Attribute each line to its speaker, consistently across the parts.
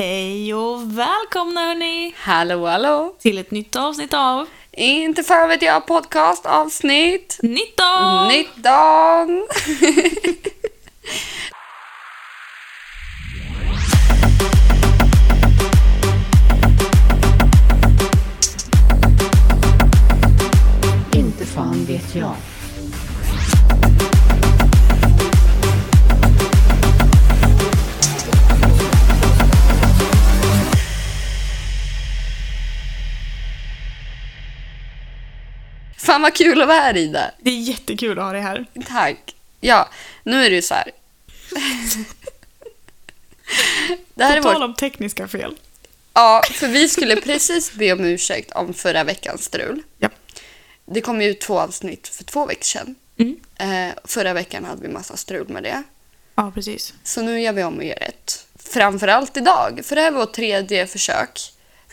Speaker 1: Hej och välkomna hörni!
Speaker 2: Hallå, hallå!
Speaker 1: Till ett nytt avsnitt av
Speaker 2: Inte fan vet jag podcastavsnitt
Speaker 1: 19!
Speaker 2: 19!
Speaker 3: Inte fan vet jag.
Speaker 2: Fan vad kul att vara här Ida!
Speaker 1: Det är jättekul att ha dig här.
Speaker 2: Tack! Ja, nu är det ju så här. Det här är
Speaker 1: På tal
Speaker 2: vårt...
Speaker 1: om tekniska fel.
Speaker 2: Ja, för vi skulle precis be om ursäkt om förra veckans strul.
Speaker 1: Ja.
Speaker 2: Det kom ju två avsnitt för två veckor sedan.
Speaker 1: Mm.
Speaker 2: Eh, förra veckan hade vi massa strul med det.
Speaker 1: ja, precis.
Speaker 2: Så nu gör vi om och gör rätt. Framförallt idag, för det här var vårt tredje försök.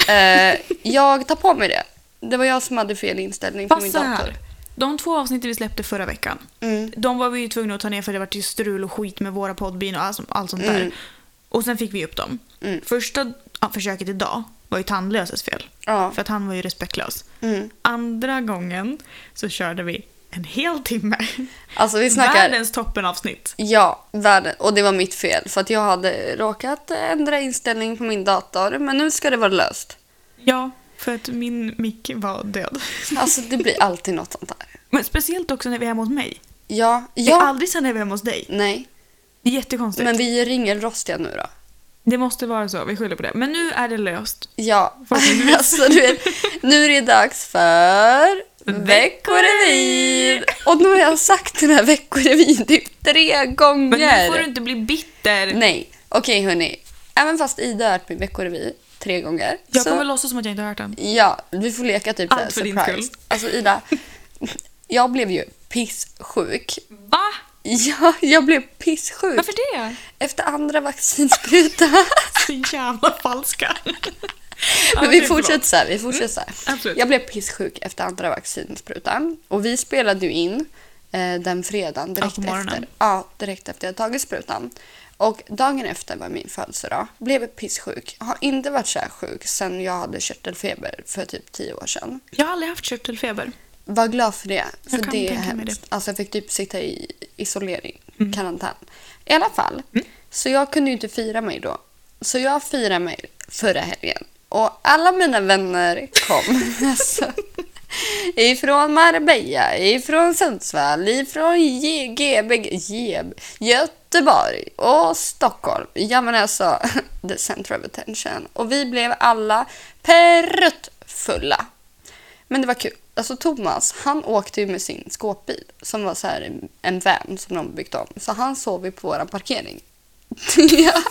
Speaker 2: Eh, jag tar på mig det. Det var jag som hade fel inställning på
Speaker 1: Fast
Speaker 2: min
Speaker 1: så
Speaker 2: dator.
Speaker 1: här. De två avsnitten vi släppte förra veckan,
Speaker 2: Mm.
Speaker 1: de var vi ju tvungna att ta ner för det var ju strul och skit med våra poddbin och allt, sånt- allt sånt där.
Speaker 2: Mm.
Speaker 1: Och sen fick vi upp dem.
Speaker 2: Mm.
Speaker 1: Första ja, försöket idag var ju tandlöses fel.
Speaker 2: Ja.
Speaker 1: För att han var ju respektlös.
Speaker 2: Mm.
Speaker 1: Andra gången så körde vi en hel timme.
Speaker 2: Alltså vi snackar...
Speaker 1: Världens toppenavsnitt.
Speaker 2: Ja, världen. Och det var mitt fel för att jag hade råkat ändra inställning på min dator. Men nu ska det vara löst.
Speaker 1: Ja, för att min mick var död.
Speaker 2: Alltså det blir alltid något sånt här.
Speaker 1: Men speciellt också när vi är hemma hos mig.
Speaker 2: Ja,
Speaker 1: Det är
Speaker 2: ja,
Speaker 1: aldrig så när vi är hemma hos dig.
Speaker 2: nej.
Speaker 1: Det är jättekonstigt.
Speaker 2: Men vi är ringelrostiga nu då.
Speaker 1: Det måste vara så, vi skyller på det. Men nu är det löst.
Speaker 2: Ja,
Speaker 1: Förhoppningsvis.
Speaker 2: alltså du vet, nu är det dags för Veckorevyn! Och nu har jag sagt den här Veckorevyn typ tre
Speaker 1: Men nu
Speaker 2: gånger.
Speaker 1: får du inte bli bitter.
Speaker 2: Nej, okej hörni. Även fast Ida har hört min Veckorevy tre gånger.
Speaker 1: Jag
Speaker 2: så-
Speaker 1: kommer låtsas som att jag inte har hört den.
Speaker 2: Ja, vi får leka typ
Speaker 1: Allt
Speaker 2: såhär
Speaker 1: för din skull.
Speaker 2: Alltså Ida, jag blev ju pissjuk.
Speaker 1: Va?
Speaker 2: Ja, jag blev pissjuk
Speaker 1: Varför det?
Speaker 2: efter andra vaccinsprutan.
Speaker 1: Så jävla falska.
Speaker 2: Men vi fortsätter så här, vi fortsätter så här.
Speaker 1: Mm, absolut.
Speaker 2: Jag blev pissjuk efter andra vaccinsprutan och vi spelade ju in eh, den fredagen direkt,
Speaker 1: på morgonen.
Speaker 2: efter, ja, direkt efter jag tagit sprutan. Och dagen efter var min födelsedag. Blev pissjuk. Har inte varit så här sjuk sen jag hade körtelfeber för typ tio år sedan.
Speaker 1: Jag har aldrig haft körtelfeber.
Speaker 2: Var glad för det. För
Speaker 1: kan
Speaker 2: det är
Speaker 1: tänka mig Mm.
Speaker 2: hemskt. Alltså jag fick typ sitta i isolering, karantän. I alla fall, så jag kunde ju inte fira mig då. Så jag firade mig förra helgen. Och alla mina vänner kom. alltså, ifrån Marbella, ifrån Sundsvall, ifrån J- GB, J- Göteborg och Stockholm. Ja men alltså, the center of attention. Och vi blev alla pruttfulla. Men det var kul. Alltså Thomas, han åkte ju med sin skåpbil som var så här en- en van som de byggt om. Så han sov ju på våran parkering. ja,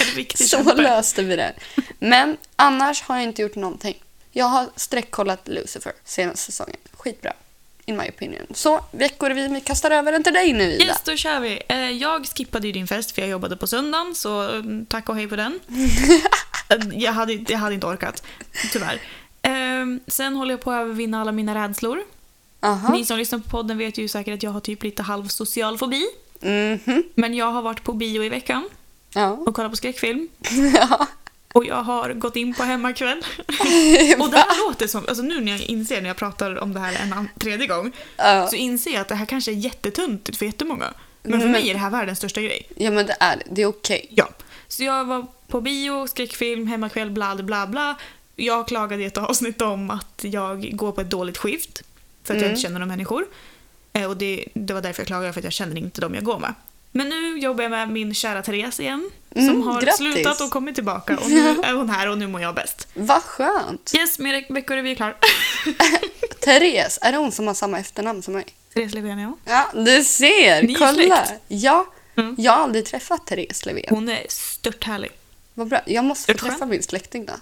Speaker 1: En riktig
Speaker 2: så
Speaker 1: kämpe.
Speaker 2: löste vi det. Men annars har jag inte gjort någonting. Jag har streckkollat Lucifer senaste säsongen. Skitbra. In my opinion. Så veckorevyn, vi kastar över den till dig nu Ida.
Speaker 1: Yes, då kör vi. Eh, Jag skippade ju din fest för jag jobbade på söndagen, så mm, tack och hej på den. Eh, jag, hade, jag hade inte orkat, tyvärr. Eh, Sen håller jag på att övervinna alla mina rädslor.
Speaker 2: Aha.
Speaker 1: Ni som lyssnar på podden vet ju säkert att jag har typ lite halv social fobi.
Speaker 2: Mhm.
Speaker 1: Men jag har varit på bio i veckan
Speaker 2: Ja.
Speaker 1: och kollat på skräckfilm.
Speaker 2: ja.
Speaker 1: Och jag har gått in på hemmakväll. och det här låter som, alltså nu när jag inser när jag pratar om det här en an- tredje gång,
Speaker 2: Ja.
Speaker 1: så inser jag att det här kanske är jättetuntigt för jättemånga. Men för
Speaker 2: Mm.
Speaker 1: mig är det här världens största grej.
Speaker 2: ja, men det är det. Det är okej.
Speaker 1: Ja. Så jag var på bio, skräckfilm, hemmakväll, bla bla bla. Jag klagade i ett avsnitt om att jag går på ett dåligt skift. För att jag
Speaker 2: Mm.
Speaker 1: inte känner några människor. Eh, Och det, det var därför jag klagade, för att jag känner inte dem jag går med. Men nu jobbar jag med min kära Therese igen. Som
Speaker 2: Mm,
Speaker 1: har
Speaker 2: grattis.
Speaker 1: slutat och kommit tillbaka. Och nu är hon här och nu mår jag bäst.
Speaker 2: Vad skönt.
Speaker 1: Yes, min veckorevy är klar.
Speaker 2: Therese, är det hon som har samma efternamn som mig?
Speaker 1: Therese Löfven, ja.
Speaker 2: Ja, du ser!
Speaker 1: Ni är
Speaker 2: Kolla!
Speaker 1: släkt.
Speaker 2: Ja,
Speaker 1: Mm.
Speaker 2: jag har aldrig träffat Therese Löfven.
Speaker 1: Hon är stört härlig.
Speaker 2: Vad bra. Jag måste
Speaker 1: Är
Speaker 2: få
Speaker 1: det skönt?
Speaker 2: träffa min släkting då.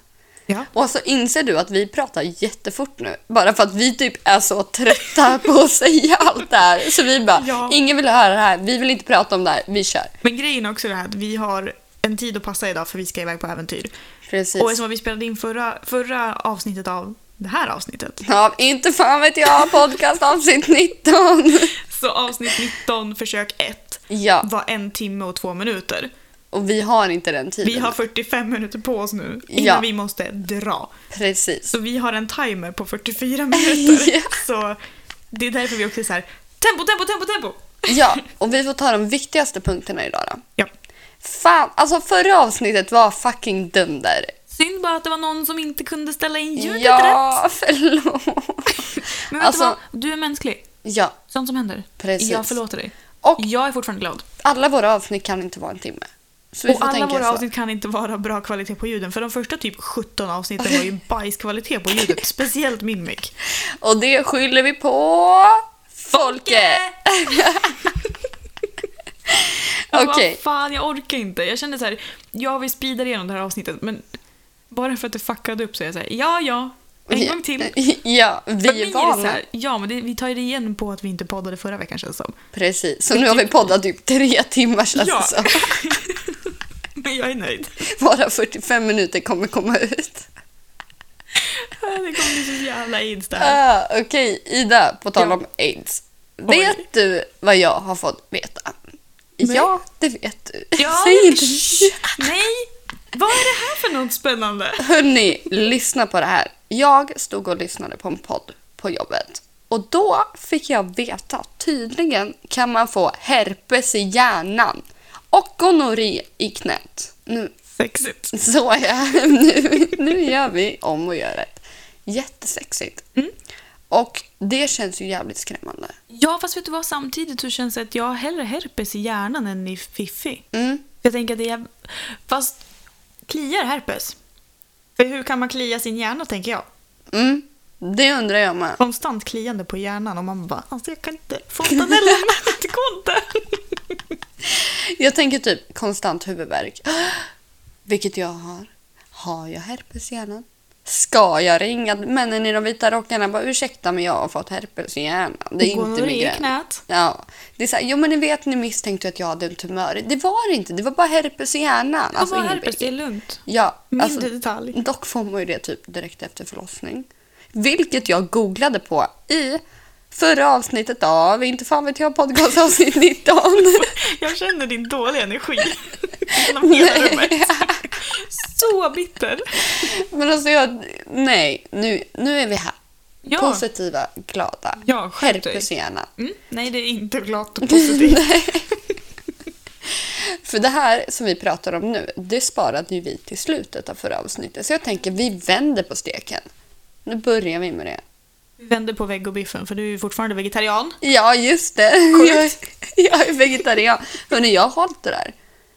Speaker 1: Ja.
Speaker 2: Och så inser du att vi pratar jättefort nu, bara för att vi typ är så trötta på att säga allt det här. Så vi bara,
Speaker 1: Ja.
Speaker 2: ingen vill höra det här, vi vill inte prata om det här, vi kör.
Speaker 1: Men grejen är också det här att vi har en tid att passa idag för vi ska iväg på äventyr.
Speaker 2: Precis.
Speaker 1: Och eftersom vi spelade in förra, förra avsnittet av det här avsnittet.
Speaker 2: Ja, inte fan vet jag, podcast avsnitt 19.
Speaker 1: Så avsnitt 19, försök 1,
Speaker 2: Ja,
Speaker 1: var en timme och två minuter.
Speaker 2: Och vi har inte den tiden.
Speaker 1: Vi har 45 minuter på oss nu innan
Speaker 2: Ja.
Speaker 1: vi måste dra.
Speaker 2: Precis.
Speaker 1: Så vi har en timer på 44 minuter.
Speaker 2: Ja.
Speaker 1: Så det är därför vi också är så här, tempo, tempo, tempo, tempo!
Speaker 2: Ja, och vi får ta de viktigaste punkterna idag då.
Speaker 1: Ja.
Speaker 2: Fan, alltså förra avsnittet var fucking dunder.
Speaker 1: Synd bara att det var någon som inte kunde ställa in ljudet rätt.
Speaker 2: Ja, förlåt.
Speaker 1: Men vet
Speaker 2: Alltså-
Speaker 1: du vad? Du är mänsklig.
Speaker 2: Ja,
Speaker 1: Sånt som händer.
Speaker 2: Precis.
Speaker 1: Jag förlåter dig.
Speaker 2: och
Speaker 1: Jag är fortfarande glad.
Speaker 2: alla våra avsnitt kan inte vara en timme. Så vi
Speaker 1: Och
Speaker 2: får
Speaker 1: alla
Speaker 2: tänka
Speaker 1: våra
Speaker 2: så.
Speaker 1: avsnitt kan inte vara bra kvalitet på ljuden. För de första typ 17 avsnitten var ju bajskvalitet på ljudet. Speciellt min mick.
Speaker 2: Och det skyller vi på... Folket!
Speaker 1: Jag
Speaker 2: Okej.
Speaker 1: bara, fan jag orkar inte. Jag kände så här, jag vill speeda igenom det här avsnittet. Men bara för att det fuckade upp så är jag så här, ja ja, en gång till.
Speaker 2: Ja,
Speaker 1: För
Speaker 2: vi
Speaker 1: mig
Speaker 2: är
Speaker 1: är det så
Speaker 2: vana.
Speaker 1: här, ja men det, vi tar ju det igen på att vi inte poddade förra veckan känns det som.
Speaker 2: Precis, så nu har vi poddat typ tre timmar känns
Speaker 1: Ja.
Speaker 2: det som.
Speaker 1: Men jag är nöjd.
Speaker 2: Bara 45 minuter kommer komma ut.
Speaker 1: Det kommer bli så jävla aids det här.
Speaker 2: Ah, Okej, Ida, på tal
Speaker 1: Ja.
Speaker 2: om aids. Vet du vad jag har fått veta?
Speaker 1: Nej.
Speaker 2: Ja, det vet du.
Speaker 1: Ja,
Speaker 2: Säg inte.
Speaker 1: shh, nej! Vad är det här för något spännande?
Speaker 2: Hörni, lyssna på det här. Jag stod och lyssnade på en podd på jobbet. Och då fick jag veta att tydligen kan man få herpes i hjärnan och gonorré i knät. Nu,
Speaker 1: Sexigt.
Speaker 2: så är nu, nu gör vi om och gör rätt. Jättesexigt. Och det känns ju jävligt skrämmande.
Speaker 1: Ja, fast vet du vad? Samtidigt så känns det att jag har hellre herpes i hjärnan än i fiffi.
Speaker 2: Mm.
Speaker 1: Jag tänker att det är... Fast kliar herpes? För hur kan man klia sin hjärna, tänker jag?
Speaker 2: Mm, det undrar jag med.
Speaker 1: Konstant kliande på hjärnan och man bara alltså jag kan inte, fontanellen, det går inte.
Speaker 2: Jag tänker typ konstant huvudvärk. Vilket jag har. Har jag herpes i hjärnan? Ska jag ringa männen i de vita rockarna? Bara, ursäkta men jag har fått herpes i hjärnan. Det är inte
Speaker 1: i
Speaker 2: migrän.
Speaker 1: knät.
Speaker 2: Ja, det är så här, jo men ni vet ni misstänkte att jag hade en tumör. Det var det inte, det var bara herpes i hjärnan.
Speaker 1: Alltså,
Speaker 2: ingen
Speaker 1: herpes,
Speaker 2: big
Speaker 1: det är
Speaker 2: deal.
Speaker 1: lugnt.
Speaker 2: Ja,
Speaker 1: Mindre
Speaker 2: alltså,
Speaker 1: detalj.
Speaker 2: dock får man ju det typ direkt efter förlossning. Vilket jag googlade på i förra avsnittet av Inte fan vet jag podcast avsnitt 19.
Speaker 1: Jag känner din dåliga energi genom hela
Speaker 2: Nej.
Speaker 1: rummet. Så bitter.
Speaker 2: Men alltså jag, nej, nu, nu är vi här.
Speaker 1: Ja.
Speaker 2: Positiva, glada.
Speaker 1: Ja, skärp dig.
Speaker 2: Herpes i hjärnan.
Speaker 1: Mm, nej, det är inte glatt och positivt.
Speaker 2: För det här som vi pratar om nu, det sparade ju vi till slutet av förra avsnittet. Så jag tänker vi vänder på steken. Nu börjar vi med det.
Speaker 1: Vi vänder på vägg och biffen för du är ju fortfarande vegetarian.
Speaker 2: Ja, just det. Jag, jag är vegetarian. Hörni, jag har hållit det där.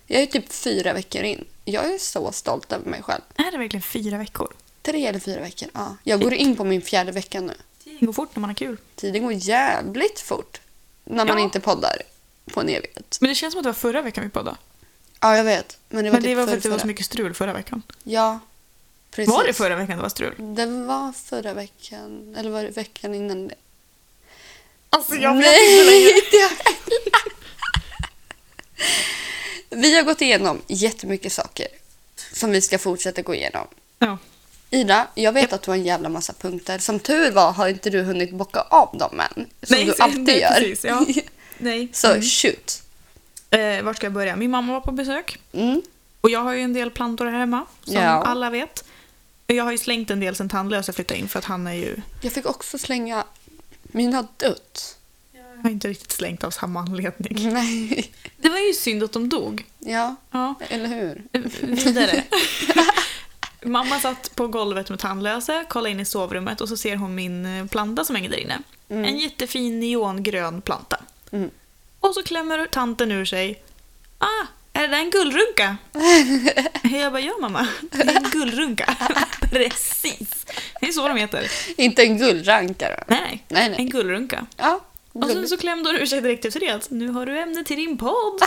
Speaker 2: Jag är typ fyra veckor in. Jag är så stolt över mig själv.
Speaker 1: Är det verkligen fyra veckor?
Speaker 2: Tre eller fyra veckor, ja. Jag går in på min fjärde vecka nu.
Speaker 1: Tiden går fort när man har kul.
Speaker 2: Tiden går jävligt fort när man
Speaker 1: Ja.
Speaker 2: inte poddar på en evighet.
Speaker 1: Men det känns som att det var förra veckan vi poddade.
Speaker 2: Ja, jag vet. Men det var,
Speaker 1: Men det
Speaker 2: typ
Speaker 1: var för att det
Speaker 2: förrförra.
Speaker 1: var så mycket strul förra veckan.
Speaker 2: Ja, precis.
Speaker 1: Var det förra veckan det var strul?
Speaker 2: Det var förra veckan, eller var det veckan innan det?
Speaker 1: Alltså jag vet inte längre.
Speaker 2: Nej! det har- vi har gått igenom jättemycket saker som vi ska fortsätta gå igenom.
Speaker 1: Ja.
Speaker 2: Ida, jag vet att du har en jävla massa punkter. Som tur var har inte du hunnit bocka av dem än. Som
Speaker 1: Nej,
Speaker 2: du
Speaker 1: så-
Speaker 2: alltid
Speaker 1: nej,
Speaker 2: gör.
Speaker 1: precis, ja. Nej.
Speaker 2: Så
Speaker 1: Mm.
Speaker 2: shoot.
Speaker 1: Eh, vart ska jag börja? Min mamma var på besök.
Speaker 2: Mm.
Speaker 1: Och jag har ju en del plantor här hemma, som
Speaker 2: Ja.
Speaker 1: alla vet. Jag har ju slängt en del sen tandlösa flyttade in för att han är ju...
Speaker 2: Jag fick också slänga mina dött.
Speaker 1: Jag har inte riktigt slängt av samma anledning.
Speaker 2: Nej.
Speaker 1: Det var ju synd att de dog.
Speaker 2: Ja,
Speaker 1: Ja.
Speaker 2: eller hur?
Speaker 1: Vidare. Mamma satt på golvet med tandlösa, kollade in i sovrummet och så ser hon min eh, planta som hänger där inne. En jättefin neongrön planta.
Speaker 2: Mm.
Speaker 1: Och så klämmer tanten ur sig. Ah, är det där en gullrunka? Jag bara, ja mamma, det är en gullrunka. Precis, det är så de heter.
Speaker 2: Inte en guldranka då?
Speaker 1: Nej,
Speaker 2: Nej, nej.
Speaker 1: en gullrunka.
Speaker 2: Ja.
Speaker 1: Och sen så klämde hon ur sig direkt efter det att nu har du ämne till din podd.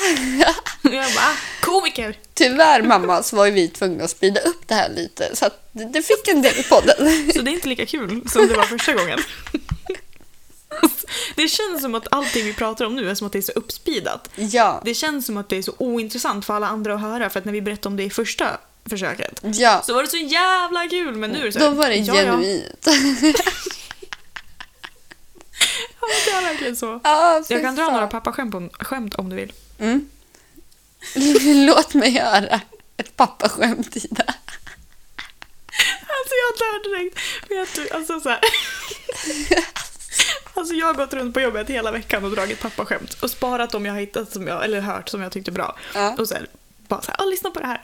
Speaker 1: Och jag bara, ah, komiker!
Speaker 2: Tyvärr mamma så var ju vi tvungna att speeda upp det här lite så att det- det fick en del i podden.
Speaker 1: Så det är inte lika kul som det var första gången. Det känns som att allting vi pratar om nu är som att det är så uppspeedat.
Speaker 2: Ja,
Speaker 1: Det känns som att det är så ointressant för alla andra att höra för att när vi berättade om det i första försöket
Speaker 2: ja.
Speaker 1: så var det så jävla kul men nu är det så här,
Speaker 2: Då var det
Speaker 1: ja, Ja,
Speaker 2: genuint.
Speaker 1: ja, det är verkligen så.
Speaker 2: Ja, fy
Speaker 1: Jag kan dra
Speaker 2: fan.
Speaker 1: några pappaskämt om, skämt om du vill.
Speaker 2: Mm. Låt mig höra ett pappaskämt, Ida.
Speaker 1: Alltså jag dör direkt. Vet du, alltså så här. Alltså jag har gått runt på jobbet hela veckan och dragit pappaskämt och sparat de jag har hittat som jag, eller hört som jag tyckte bra.
Speaker 2: Ja.
Speaker 1: Och sen bara så här, "Ah, lyssna på det här.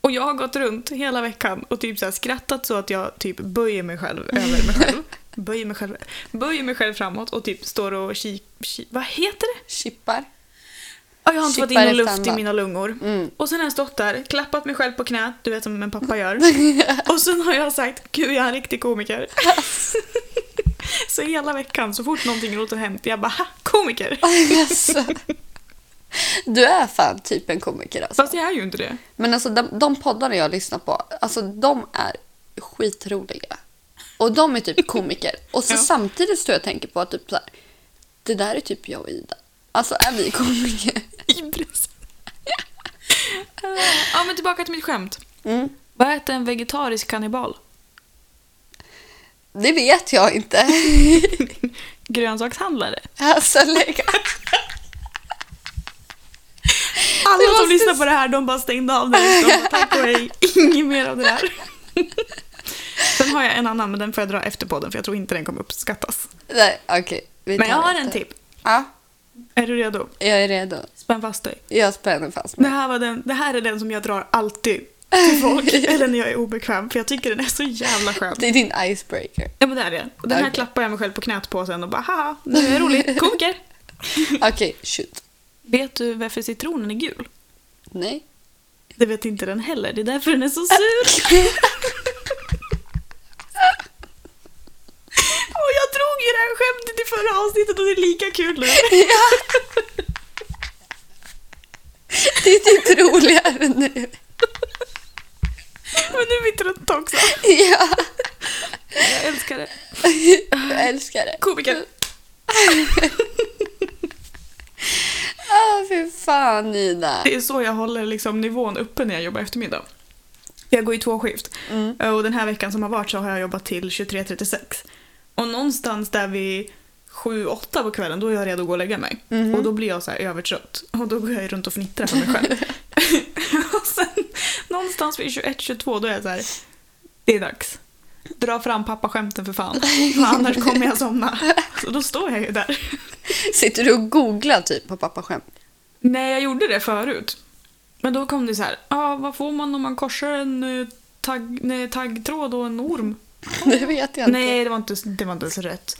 Speaker 1: Och jag har gått runt hela veckan och typ så här skrattat så att jag typ böjer mig själv över mig själv. Böjer mig själv, böjer mig själv framåt och typ står och ki, ki, vad heter det?
Speaker 2: Chippar.
Speaker 1: Ja, Jag har inte fått in
Speaker 2: Chippar
Speaker 1: någon
Speaker 2: i
Speaker 1: luft i
Speaker 2: stand-up.
Speaker 1: mina lungor.
Speaker 2: Mm.
Speaker 1: Och sen har jag stått där, klappat mig själv på knät, du vet som en pappa gör. Och sen har jag sagt, gud jag är en riktig komiker. så hela veckan, så fort någonting låter hänt, jag bara, ha, komiker!
Speaker 2: Alltså. Du är fan typ en komiker alltså.
Speaker 1: Fast jag är ju inte det.
Speaker 2: Men alltså de, de poddarna jag lyssnar på, alltså de är skitroliga. Och de är typ komiker. Och så
Speaker 1: Ja.
Speaker 2: samtidigt står jag och tänker på att typ så här, det där är typ jag och Ida. Alltså är vi komiker?
Speaker 1: Ibris. ja men tillbaka till mitt skämt.
Speaker 2: Mm.
Speaker 1: Vad äter en vegetarisk kannibal?
Speaker 2: Det vet jag inte.
Speaker 1: Grönsakshandlare.
Speaker 2: Alltså lägg Det
Speaker 1: Alla
Speaker 2: var
Speaker 1: som lyssnar
Speaker 2: så-
Speaker 1: på det här, de bara stängde av det. De bara, Tack och hej, inget mer av det där. Sen har jag en annan, men den får jag dra efter podden för jag tror inte den kommer uppskattas.
Speaker 2: Nej, okej. vi
Speaker 1: Men jag
Speaker 2: tar
Speaker 1: har
Speaker 2: det
Speaker 1: en
Speaker 2: efter.
Speaker 1: tipp.
Speaker 2: Ja,
Speaker 1: Är du redo?
Speaker 2: jag är redo.
Speaker 1: Spänn fast dig.
Speaker 2: Jag spänner fast
Speaker 1: Det
Speaker 2: mig.
Speaker 1: här, var den, det här är den som jag drar alltid till folk, eller när jag är obekväm, för jag tycker den är så jävla skön.
Speaker 2: Det är din icebreaker.
Speaker 1: Ja men det är det. Och Den här
Speaker 2: Okej.
Speaker 1: klappar jag mig själv på knät på sen och bara haha, nu är jag rolig, komiker.
Speaker 2: Okej, shoot.
Speaker 1: Vet du varför citronen är gul?
Speaker 2: Nej.
Speaker 1: Det vet inte den heller, det är därför den är så sur. Och jag drog ju det här skämtet i förra avsnittet och det är lika kul nu.
Speaker 2: Det är typ roligare nu.
Speaker 1: Men nu är vi trötta också.
Speaker 2: Ja,
Speaker 1: Jag älskar det.
Speaker 2: jag älskar det.
Speaker 1: Komiker.
Speaker 2: Åh, Ah, fy fan Ida.
Speaker 1: Det är så jag håller liksom nivån uppe när jag jobbar eftermiddag. Jag går i två skift. Eh, Och den här veckan som har varit så har jag jobbat till 23.36. Och någonstans där vid 7-8 på kvällen då är jag redo att gå och lägga mig. Och då blir jag så här övertrött. Och då går jag ju runt och fnittrar för mig själv. och sen någonstans vid 21-22 då är jag så här. Det är dags. Dra fram pappaskämten för fan. Annars kommer jag somna. Så då står jag ju där.
Speaker 2: Sitter du och googlar typ på pappaskämt?
Speaker 1: Nej, jag gjorde det förut. Men då kom det så här, ah, vad får man om man korsar en eh, tagg, nej, taggtråd och en orm?
Speaker 2: Det vet jag inte.
Speaker 1: Nej, det var inte, det var inte ens rätt.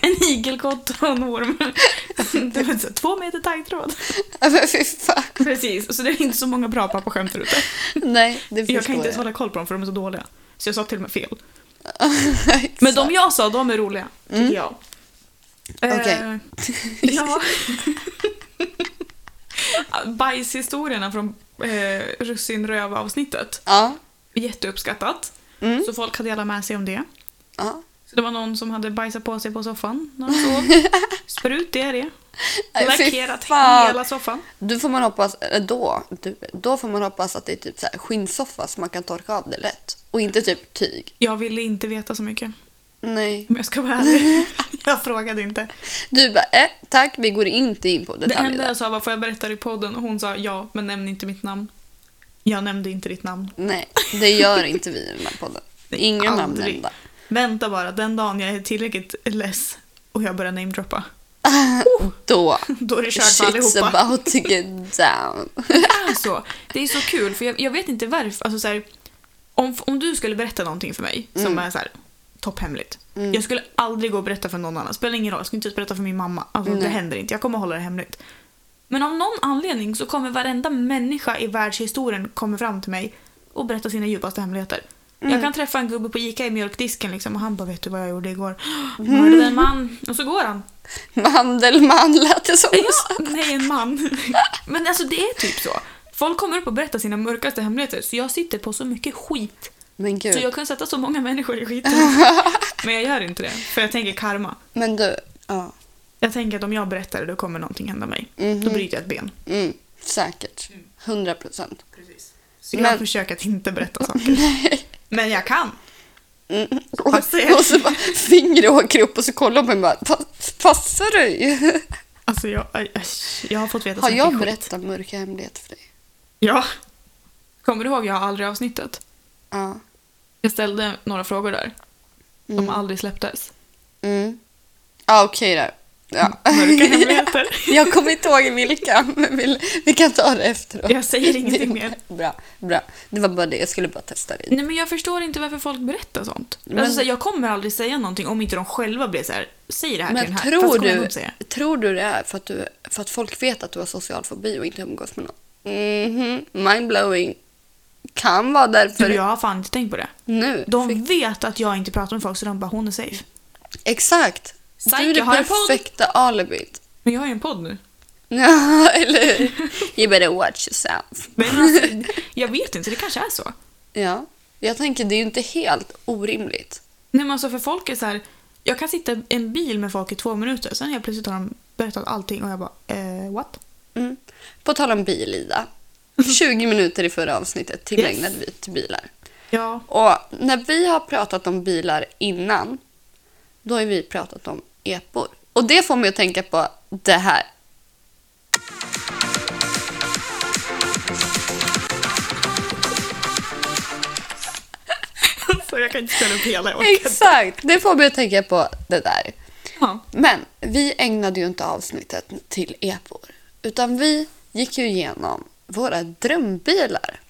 Speaker 1: en igelkott och en orm. det var så här, två meter taggtråd.
Speaker 2: Ja, Men fy fan.
Speaker 1: Precis, så det är inte så många bra pappaskämt där ute.
Speaker 2: Nej, det förstår
Speaker 1: Jag kan inte ens hålla koll på dem för de är så dåliga. Så jag sa till och med fel. Men de jag sa, de är roliga. Tycker jag.
Speaker 2: Okej.
Speaker 1: Eh, ja. Bajshistorierna från eh, Russinröv-avsnittet.
Speaker 2: Ja,
Speaker 1: Jätteuppskattat.
Speaker 2: Mm.
Speaker 1: Så folk hade alla med sig om det.
Speaker 2: ja.
Speaker 1: Så det var någon som hade bajsat på sig på soffan när han sov. Sprut, det är det.
Speaker 2: Nej, fy
Speaker 1: Lackerat
Speaker 2: fan.
Speaker 1: hela soffan.
Speaker 2: Du får man hoppas, eller då, du, då får man hoppas att det är typ så här skinnsoffa så man kan torka av det lätt. Och inte typ tyg.
Speaker 1: Jag ville inte veta så mycket.
Speaker 2: Nej.
Speaker 1: Om jag ska vara ärlig. Jag frågade inte.
Speaker 2: Du bara, eh, tack, vi går inte in på
Speaker 1: Det
Speaker 2: detaljer.
Speaker 1: enda jag sa var får jag berätta det i podden och hon sa ja men nämn inte mitt namn. Jag nämnde inte ditt namn.
Speaker 2: Nej, det gör inte vi i den här podden. Inga namn
Speaker 1: Aldrig.
Speaker 2: nämnda.
Speaker 1: Vänta bara, den dagen jag är tillräckligt less och jag börjar namedroppa, Oh.
Speaker 2: Då,
Speaker 1: då är det kört för
Speaker 2: shit's
Speaker 1: allihopa.
Speaker 2: about to get down.
Speaker 1: Det är så. Det är så kul för jag, jag vet inte varför. Alltså, så här, om, om du skulle berätta någonting för mig som är så här, topphemligt.
Speaker 2: Mm.
Speaker 1: Jag skulle aldrig gå och berätta för någon annan. Spelar ingen roll, jag skulle inte ens berätta för min mamma. Alltså, det
Speaker 2: Nej.
Speaker 1: händer inte, jag kommer hålla det hemligt. Men av någon anledning så kommer varenda människa i världshistorien komma fram till mig och berätta sina djupaste hemligheter. Jag kan träffa en gubbe på Ica i mjölkdisken liksom, och han bara vet du vad jag gjorde igår? Mördade en man. Och så går han.
Speaker 2: Mandelman lät det som.
Speaker 1: Ja, Just, nej, en man. Men alltså det är typ så. Folk kommer upp och berättar sina mörkaste hemligheter så jag sitter på så mycket skit.
Speaker 2: Men gud.
Speaker 1: Så jag kan sätta så många människor i skiten. Men jag gör inte det, för jag tänker karma.
Speaker 2: Men du, ja.
Speaker 1: Jag tänker att om jag berättar det då kommer någonting hända mig.
Speaker 2: Mhm.
Speaker 1: Då bryter jag ett ben.
Speaker 2: Mm, säkert. 100 procent.
Speaker 1: Så jag
Speaker 2: Men-
Speaker 1: försöker att inte berätta saker. Men jag kan.
Speaker 2: Mm.
Speaker 1: Vad säger
Speaker 2: Och, och så bara, fingret åker upp och så kollar man bara, "Pa- passar du?
Speaker 1: Alltså Alltså jag, aj, aj, jag har fått veta
Speaker 2: Har
Speaker 1: så
Speaker 2: jag
Speaker 1: mycket skit.
Speaker 2: berättat mörka hemligheter för dig?
Speaker 1: Ja. Kommer du ihåg jag har aldrig avsnittet?
Speaker 2: Ja.
Speaker 1: Jag ställde några frågor där som aldrig släpptes.
Speaker 2: Mm. Ja, okej där. Ja.
Speaker 1: Mörka hemligheter.
Speaker 2: Jag kommer inte ihåg vilka, men vi, vi kan ta det efteråt.
Speaker 1: Jag säger ingenting mer.
Speaker 2: Bra, bra. Det var bara det, jag skulle bara testa dig.
Speaker 1: Nej men jag förstår inte varför folk berättar sånt.
Speaker 2: Men-
Speaker 1: Alltså, så här, jag kommer aldrig säga någonting om inte de själva blir så här. säg det här till
Speaker 2: Men
Speaker 1: den här. Fast
Speaker 2: tror
Speaker 1: kommer jag
Speaker 2: du,
Speaker 1: nog säga.
Speaker 2: tror du det är för att, du, för att folk vet att du har social fobi och inte umgås med någon? Mhm, mindblowing. Kan vara därför
Speaker 1: Du, jag har fan inte tänkt på det.
Speaker 2: nu.
Speaker 1: De
Speaker 2: Fick-
Speaker 1: vet att jag inte pratar med folk så de bara “hon är safe”.
Speaker 2: Exakt!
Speaker 1: Psych,
Speaker 2: du är
Speaker 1: jag har
Speaker 2: det
Speaker 1: en podd.
Speaker 2: perfekta alibit.
Speaker 1: Men jag har ju en podd nu.
Speaker 2: Ja, eller hur? You better watch yourself.
Speaker 1: Men alltså, jag vet inte, det kanske är så.
Speaker 2: Ja, jag tänker det är ju inte helt orimligt.
Speaker 1: Nej men alltså för folk är så här. Jag kan sitta i en bil med folk i två minuter, sen helt plötsligt har de berättat allting och jag bara eh, what?
Speaker 2: Mm. På tal om bil, Ida. 20 minuter i förra avsnittet tillägnade vi till bilar.
Speaker 1: Ja.
Speaker 2: Och när vi har pratat om bilar innan, då har vi pratat om epor. Och det får mig att tänka på det här.
Speaker 1: Så jag kan inte ställa upp hela, jag orkar inte.
Speaker 2: Exakt! Det får mig att tänka på det där.
Speaker 1: Ja.
Speaker 2: Men vi ägnade ju inte avsnittet till epor. Utan vi gick ju igenom våra drömbilar.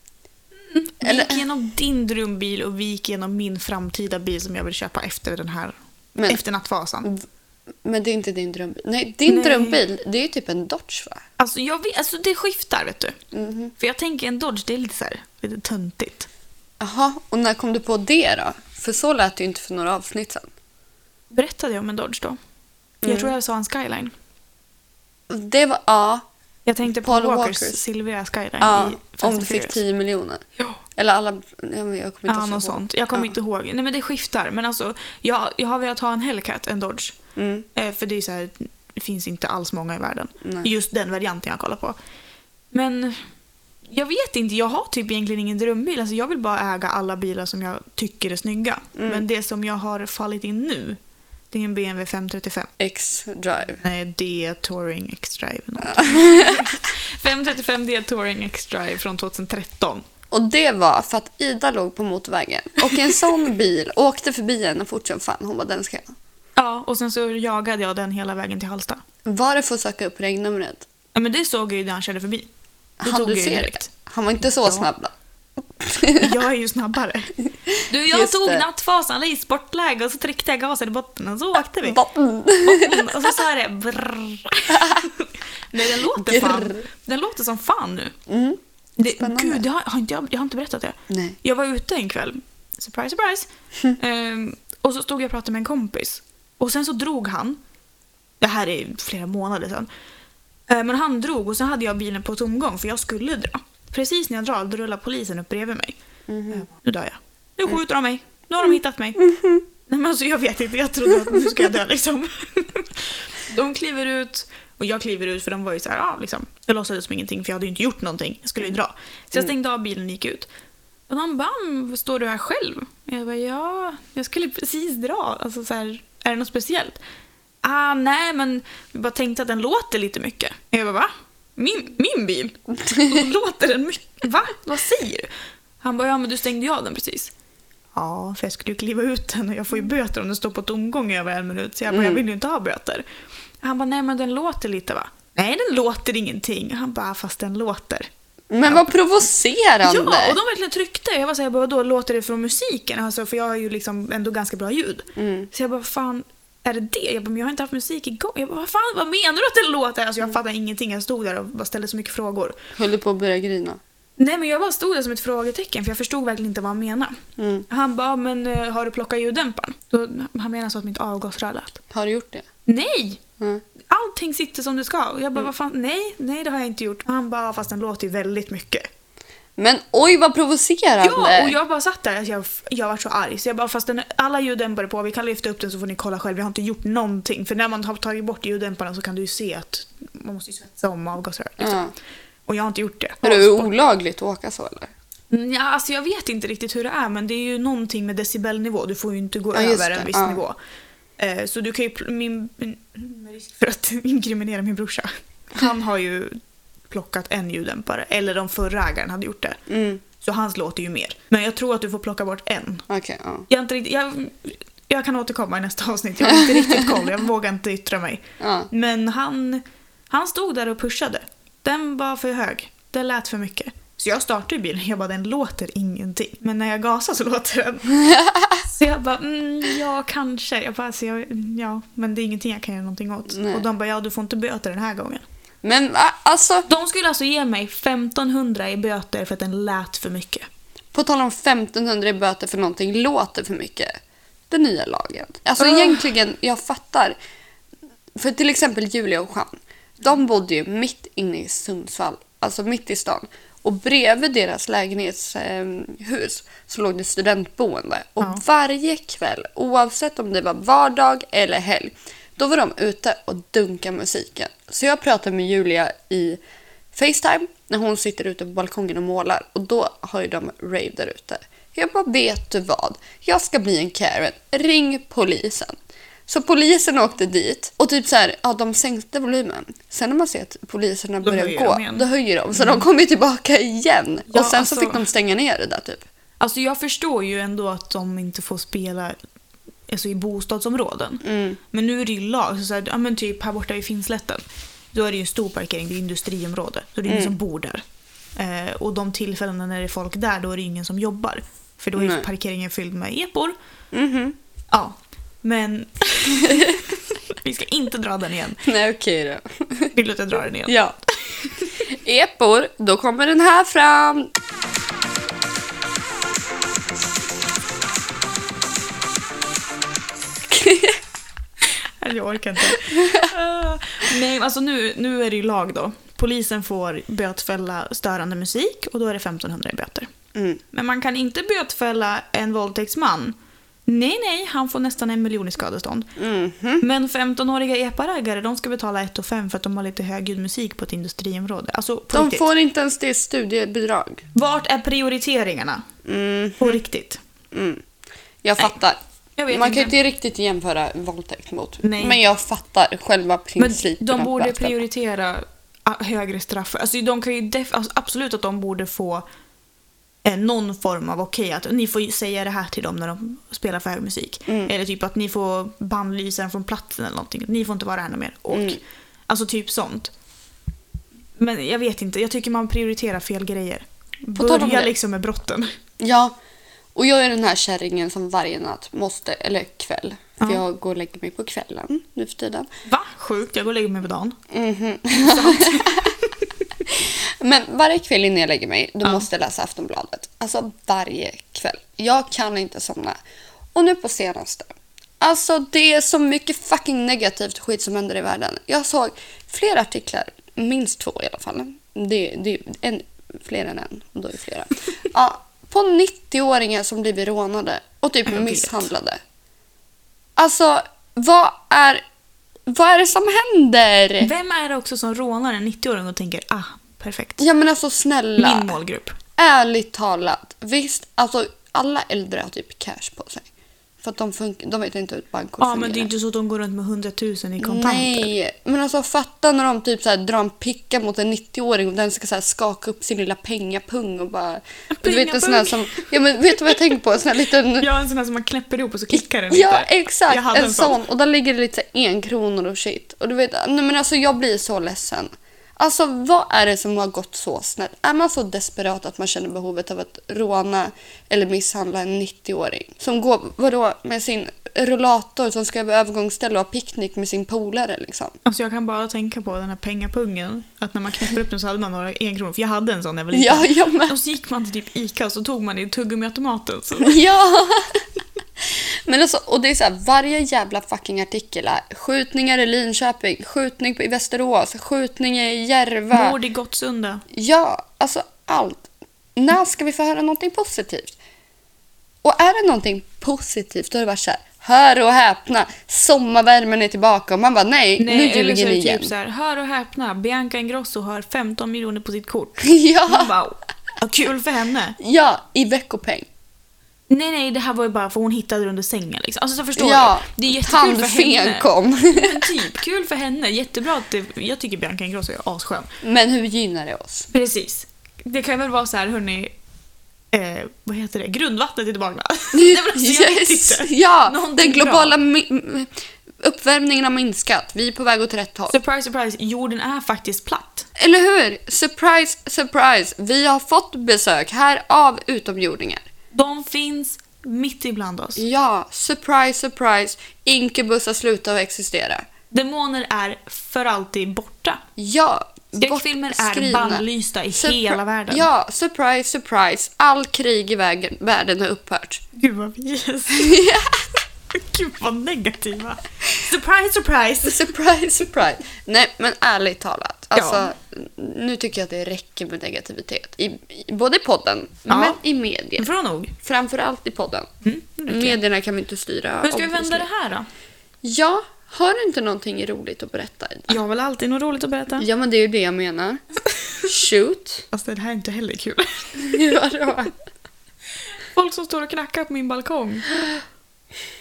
Speaker 1: Vi gick igenom din drömbil och vi gick igenom min framtida bil som jag vill köpa efter den här,
Speaker 2: Men-
Speaker 1: efter nattfasan.
Speaker 2: Men det är inte din drömbil. Nej, din
Speaker 1: Nej.
Speaker 2: drömbil, det är ju typ en Dodge va?
Speaker 1: Alltså, jag vet, alltså det skiftar vet du.
Speaker 2: Mhm.
Speaker 1: För jag tänker en Dodge, det är lite så här, lite töntigt.
Speaker 2: Jaha, och när kom du på det då? För så lät det ju inte för några avsnitt sedan.
Speaker 1: Berättade jag om en Dodge då?
Speaker 2: Mm.
Speaker 1: Jag tror jag sa en Skyline.
Speaker 2: Det var, ja,
Speaker 1: Jag tänkte på
Speaker 2: Paul
Speaker 1: Walkers,
Speaker 2: Walkers.
Speaker 1: silvriga Skyline
Speaker 2: ja
Speaker 1: i Fast
Speaker 2: om
Speaker 1: and
Speaker 2: du fick
Speaker 1: Furious.
Speaker 2: 10 miljoner.
Speaker 1: Ja.
Speaker 2: Eller alla, ja, men jag kommer inte
Speaker 1: Ja, något
Speaker 2: ihåg.
Speaker 1: sånt. Jag kommer
Speaker 2: Ja.
Speaker 1: inte ihåg. Nej men det skiftar. Men alltså, jag, jag har velat ha en Hellcat, en Dodge.
Speaker 2: Mm.
Speaker 1: Eh, för det är så här, det finns inte alls många i världen.
Speaker 2: Nej.
Speaker 1: Just den varianten jag kollar på. Men jag vet inte, jag har typ egentligen ingen drömbil. Alltså jag vill bara äga alla bilar som jag tycker är snygga.
Speaker 2: Mm.
Speaker 1: Men det som jag har fallit in nu, det är en BMW 535.
Speaker 2: X-Drive.
Speaker 1: Nej, D Touring X-Drive. någonting. 535 D Touring X-Drive från 2013.
Speaker 2: Och det var för att Ida låg på motorvägen och i en sån bil åkte förbi henne fort som fan. Hon bara, den ska jag ha.
Speaker 1: Ja, och sen så jagade jag den hela vägen till Halsta.
Speaker 2: Var det för att söka upp regnumret?
Speaker 1: Ja, men det såg jag ju när han körde förbi. Då
Speaker 2: Han
Speaker 1: tog
Speaker 2: du
Speaker 1: jag ju
Speaker 2: ser
Speaker 1: direkt.
Speaker 2: det? Han var inte så
Speaker 1: Ja.
Speaker 2: snabb då.
Speaker 1: Jag är ju snabbare. Du, jag
Speaker 2: Just
Speaker 1: tog
Speaker 2: det.
Speaker 1: nattfasan i sportläge och så tryckte jag gasen i botten och så åkte vi.
Speaker 2: Botten.
Speaker 1: Botten. Och så sa det brrr. Nej, den låter fan.
Speaker 2: Grr.
Speaker 1: Den låter som fan nu.
Speaker 2: Mm.
Speaker 1: Det,
Speaker 2: Spännande.
Speaker 1: gud, det har, har inte, jag, jag har inte berättat det.
Speaker 2: Nej.
Speaker 1: Jag var ute en kväll, surprise surprise, ehm, och så stod jag och pratade med en kompis. Och sen så drog han, det här är flera månader sedan, Ehm, men han drog och sen hade jag bilen på tomgång för jag skulle dra. Precis när jag drar då rullar polisen upp bredvid mig. Jag bara, Nu dör jag. Nu skjuter de mig. Nu har de hittat mig. Nej men alltså jag vet inte, jag trodde att nu ska jag dö liksom. De kliver ut och jag kliver ut för de var ju så här, ja liksom. Jag låtsades som ingenting för jag hade ju inte gjort någonting. Jag skulle ju dra. Så jag stängde av bilen och gick ut. Och de bam, står du här själv? Och Jag bara, ja, jag skulle precis dra. Alltså så här, är det något speciellt? Ah, nej men jag bara tänkte att den låter lite mycket. Och Jag bara, va? Min, min bil? låter den mycket? Va? Vad säger du? Han bara, ja men du stängde ju av den precis. Mm. Ja, för jag skulle ju kliva ut den och jag får ju böter om den står på tomgång i över en minut. Så jag bara, jag vill ju inte ha böter. Han bara, nej men den låter lite va? Nej, den låter ingenting. Han bara, fast den låter.
Speaker 2: Men vad provocerande!
Speaker 1: Ja, och de verkligen tryckte. Jag var såhär, då låter det från musiken? Alltså, för jag har ju liksom ändå ganska bra ljud. Så jag bara, fan är det det? Jag bara, men jag har inte haft musik igång. Jag bara, vad fan, vad menar du att det låter? Alltså jag fattade ingenting. Jag stod där och bara ställde så mycket frågor.
Speaker 2: Höll du på att börja grina?
Speaker 1: Nej men jag bara stod där som ett frågetecken för jag förstod verkligen inte vad han menade.
Speaker 2: Mm.
Speaker 1: Han bara, men eh, har du plockat ljuddämparen? Då, han menar så att mitt avgasrör lät.
Speaker 2: Har du gjort det?
Speaker 1: Nej!
Speaker 2: Mm.
Speaker 1: Allting sitter som det ska. Och jag bara, vad fan, nej, nej det har jag inte gjort. Han bara, fast den låter ju väldigt mycket.
Speaker 2: Men oj vad provocerande!
Speaker 1: Ja, och jag bara satt där. Alltså jag, jag var så arg. Så jag bara, fast den, alla ljuddämpare på, vi kan lyfta upp den så får ni kolla själv. Jag har inte gjort någonting. För när man har tagit bort ljuddämparna så kan du ju se att man måste ju svetsa om avgasröret. Liksom.
Speaker 2: Ja.
Speaker 1: Och jag har inte gjort det.
Speaker 2: Är det olagligt att åka så eller?
Speaker 1: Ja, alltså jag vet inte riktigt hur det är men det är ju någonting med decibelnivå. Du får ju inte gå
Speaker 2: Ja, just
Speaker 1: över
Speaker 2: det.
Speaker 1: en viss
Speaker 2: Ja.
Speaker 1: nivå. Eh, så du kan ju... pl- Min, min, med risk för att inkriminera min brorsa. Han har ju plockat en ljuddämpare, eller de förra ägaren hade gjort det.
Speaker 2: Mm.
Speaker 1: Så hans låter ju mer. Men jag tror att du får plocka bort en.
Speaker 2: Okej, ja.
Speaker 1: Jag, är inte riktigt, jag, jag kan återkomma i nästa avsnitt. Jag har inte riktigt koll, jag vågar inte yttra mig.
Speaker 2: ja.
Speaker 1: Men han, han stod där och pushade. Den var för hög. Det lät för mycket. Så jag startade ju bilen jag bara den låter ingenting. Men när jag gasar så låter den. Så jag bara mm, ja kanske. Jag bara, så jag, mm, ja men det är ingenting jag kan göra någonting åt.
Speaker 2: Nej.
Speaker 1: Och de bara ja du får inte böter den här gången.
Speaker 2: Men a- alltså,
Speaker 1: De skulle alltså ge mig 1500 i böter för att den lät för mycket.
Speaker 2: på tal om 1500 i böter för någonting låter för mycket. Den nya lagen. Alltså
Speaker 1: Ugh.
Speaker 2: egentligen, jag fattar. För till exempel Julia och Jean. De bodde ju mitt inne i Sundsvall, alltså mitt i stan. Och bredvid deras lägenhetshus så låg det studentboende. Och
Speaker 1: Ja.
Speaker 2: varje kväll, oavsett om det var vardag eller helg, då var de ute och dunkade musiken. Så jag pratade med Julia i Facetime när hon sitter ute på balkongen och målar och då har ju de rave där ute. Jag bara, vet du vad? Jag ska bli en Karen. Ring polisen. Så polisen åkte dit och typ så här, ja, de sänkte volymen. Sen när man ser att poliserna
Speaker 1: Då
Speaker 2: börjar
Speaker 1: höjer
Speaker 2: gå,
Speaker 1: de igen. Mm.
Speaker 2: då höjer de. Så de kom ju tillbaka igen.
Speaker 1: Ja,
Speaker 2: och sen
Speaker 1: alltså-
Speaker 2: så fick de stänga ner det där typ.
Speaker 1: Alltså jag förstår ju ändå att de inte får spela alltså, i bostadsområden.
Speaker 2: Mm.
Speaker 1: Men nu är det ju lag, så så här, ja, men typ här borta vid Finnslätten. Då är det ju en stor parkering, det är industriområde. Så det är ingen som bor där. Eh, och de tillfällena när det är folk där, då är det ingen som jobbar. För då är ju
Speaker 2: Nej.
Speaker 1: parkeringen fylld med epor. Ja, men... Vi ska inte dra den igen.
Speaker 2: Nej, okej då.
Speaker 1: Vill du att jag drar den igen?
Speaker 2: Ja. Epor, då kommer den här fram.
Speaker 1: Nej, Jag orkar inte. Ah, Nej, alltså nu, nu är det ju lag då. Polisen får bötfälla störande musik och då är det 1500 i böter.
Speaker 2: Mm.
Speaker 1: Men man kan inte bötfälla en våldtäktsman. Nej, nej, han får nästan en miljon i skadestånd.
Speaker 2: Mhm.
Speaker 1: Men 15-åriga eparägare, de ska betala 1 500 för att de har lite högljudd musik på ett industriområde. Alltså, på
Speaker 2: De
Speaker 1: riktigt.
Speaker 2: får inte ens det studiebidrag.
Speaker 1: Vart är prioriteringarna?
Speaker 2: Mm.
Speaker 1: På riktigt.
Speaker 2: Mm. Jag
Speaker 1: Nej,
Speaker 2: fattar.
Speaker 1: Jag vet
Speaker 2: Man
Speaker 1: inte.
Speaker 2: kan ju inte riktigt jämföra våldtäkt mot.
Speaker 1: Nej.
Speaker 2: Men jag fattar själva
Speaker 1: Men
Speaker 2: principen.
Speaker 1: de
Speaker 2: att
Speaker 1: borde
Speaker 2: bötfälla.
Speaker 1: prioritera a- högre straff. Alltså, de kan ju def- alltså, absolut att de borde få eh, någon form av okej att ni får ju säga det här till dem när de spelar för hög musik.
Speaker 2: Mm.
Speaker 1: Eller typ att ni får bannlysa den från platsen eller någonting. Ni får inte vara här någon mer. Och,
Speaker 2: Mm.
Speaker 1: Alltså typ sånt. Men jag vet inte, jag tycker man prioriterar fel grejer.
Speaker 2: tal om
Speaker 1: Börja
Speaker 2: det.
Speaker 1: liksom med brotten.
Speaker 2: Ja. Och jag är den här kärringen som varje natt måste, eller kväll. För
Speaker 1: Ja.
Speaker 2: jag går och lägger mig på kvällen nu för tiden.
Speaker 1: Va? Sjukt, jag går och lägger mig på dagen.
Speaker 2: Men varje kväll innan jag lägger mig, då
Speaker 1: Ja.
Speaker 2: måste jag läsa Aftonbladet. Alltså varje kväll. Jag kan inte somna. Och nu på senaste. Alltså det är så mycket fucking negativt skit som händer i världen. Jag såg flera artiklar, minst två i alla fall. Det, det är en, fler än en, och då är det flera. Ja, på 90-åringar som blivit rånade och typ
Speaker 1: vet.
Speaker 2: misshandlade. Alltså, vad är, vad är det som händer?
Speaker 1: Vem är det också som rånar en 90-åring och tänker ah, perfekt.
Speaker 2: Ja men alltså snälla.
Speaker 1: Min målgrupp.
Speaker 2: Ärligt talat, visst, alltså alla äldre har typ cash på sig. För att de, fun- de vet inte hur ett bankkort
Speaker 1: Ja, men det är inte så att de går runt med 100 000 i kontanter.
Speaker 2: Nej, men alltså fatta när de typ så här drar en picka mot en 90-åring och den ska så här skaka upp sin lilla pengapung och bara... Du vet en sån här som...
Speaker 1: Pengapung.
Speaker 2: Ja men vet du vad jag tänker på? En sån här liten...
Speaker 1: Jag har en sån här som man knäpper ihop och så klickar den
Speaker 2: Ja,
Speaker 1: lite.
Speaker 2: exakt.
Speaker 1: Jag hade
Speaker 2: En sån. Och där ligger det lite enkronor och shit. Och du vet, nej men alltså jag blir så ledsen. Alltså vad är det som har gått så snett? Är man så desperat att man känner behovet av att råna eller misshandla en 90-åring? Som går, vadå, med sin rullator som ska över övergångsställe och ha picknick med sin polare liksom.
Speaker 1: Alltså jag kan bara tänka på den här pengapungen. Att när man knäpper upp den så hade man några enkronor. För jag hade en sån när jag var liten.
Speaker 2: Ja, jag med.
Speaker 1: Och så gick man till typ Ica och så tog man det i tuggummiautomaten. Så.
Speaker 2: Ja! Men alltså, och det är så här, varje jävla fucking artikel är skjutningar i Linköping, skjutning i Västerås, skjutning i Järva.
Speaker 1: Mord i Gottsunda.
Speaker 2: Ja, alltså allt. När ska vi få höra någonting positivt? Och är det någonting positivt, då är det bara så här, hör och häpna, sommarvärmen är tillbaka och man bara nej, nu
Speaker 1: eller så
Speaker 2: ljuger
Speaker 1: är
Speaker 2: ni
Speaker 1: det
Speaker 2: igen.
Speaker 1: typ så här, hör och häpna, Bianca Ingrosso har 15 miljoner på sitt kort. Man
Speaker 2: ja,
Speaker 1: bara, "Ja, kul för henne.
Speaker 2: ja, i veckopeng.
Speaker 1: Nej, nej, det här var ju bara för hon hittade det under sängen. Liksom. Alltså, så förstår
Speaker 2: Ja,
Speaker 1: du? Det är jättekul för henne.
Speaker 2: tandfen kom.
Speaker 1: Men typ, kul för henne. Jättebra att det, Jag tycker Bianca Ingrosso är asskön.
Speaker 2: Men hur gynnar det oss?
Speaker 1: Precis. Det kan väl vara så här, hörni... Eh, vad heter det? Grundvattnet är tillbaka. Nej, men alltså, jag vet
Speaker 2: Yes.
Speaker 1: inte.
Speaker 2: Ja,
Speaker 1: Någonting
Speaker 2: den globala mi- uppvärmningen har minskat. Vi är på väg åt rätt håll.
Speaker 1: Surprise, surprise. Jorden är faktiskt platt.
Speaker 2: Eller hur? Surprise, surprise. Vi har fått besök här av utomjordingar.
Speaker 1: De finns mitt ibland oss.
Speaker 2: Ja, surprise, surprise. Inkubus har slutat att existera.
Speaker 1: Demoner är för alltid borta.
Speaker 2: Ja,
Speaker 1: Skräckfilmer är
Speaker 2: bortskrivna.
Speaker 1: bannlysta i
Speaker 2: Surpri-
Speaker 1: hela världen.
Speaker 2: Ja, surprise, surprise. All krig i vägen, världen har upphört.
Speaker 1: Gud vad yes. Gud vad negativa. Surprise, surprise.
Speaker 2: Surprise, surprise. Nej, men ärligt talat. Alltså,
Speaker 1: Ja.
Speaker 2: Nu tycker jag att det räcker med negativitet. I, i, både i podden,
Speaker 1: Ja. Mm,
Speaker 2: men i media.
Speaker 1: Det får vara nog.
Speaker 2: Framförallt i podden. Medierna kan vi inte styra.
Speaker 1: Hur ska vi vända
Speaker 2: obviously.
Speaker 1: det här då?
Speaker 2: Ja, har du inte någonting roligt att berätta? Ida?
Speaker 1: Jag har väl alltid något roligt att berätta.
Speaker 2: Ja, men det är ju det jag menar. Shoot.
Speaker 1: Alltså det här är inte heller kul.
Speaker 2: Vadå?
Speaker 1: Folk som står och knackar på min balkong.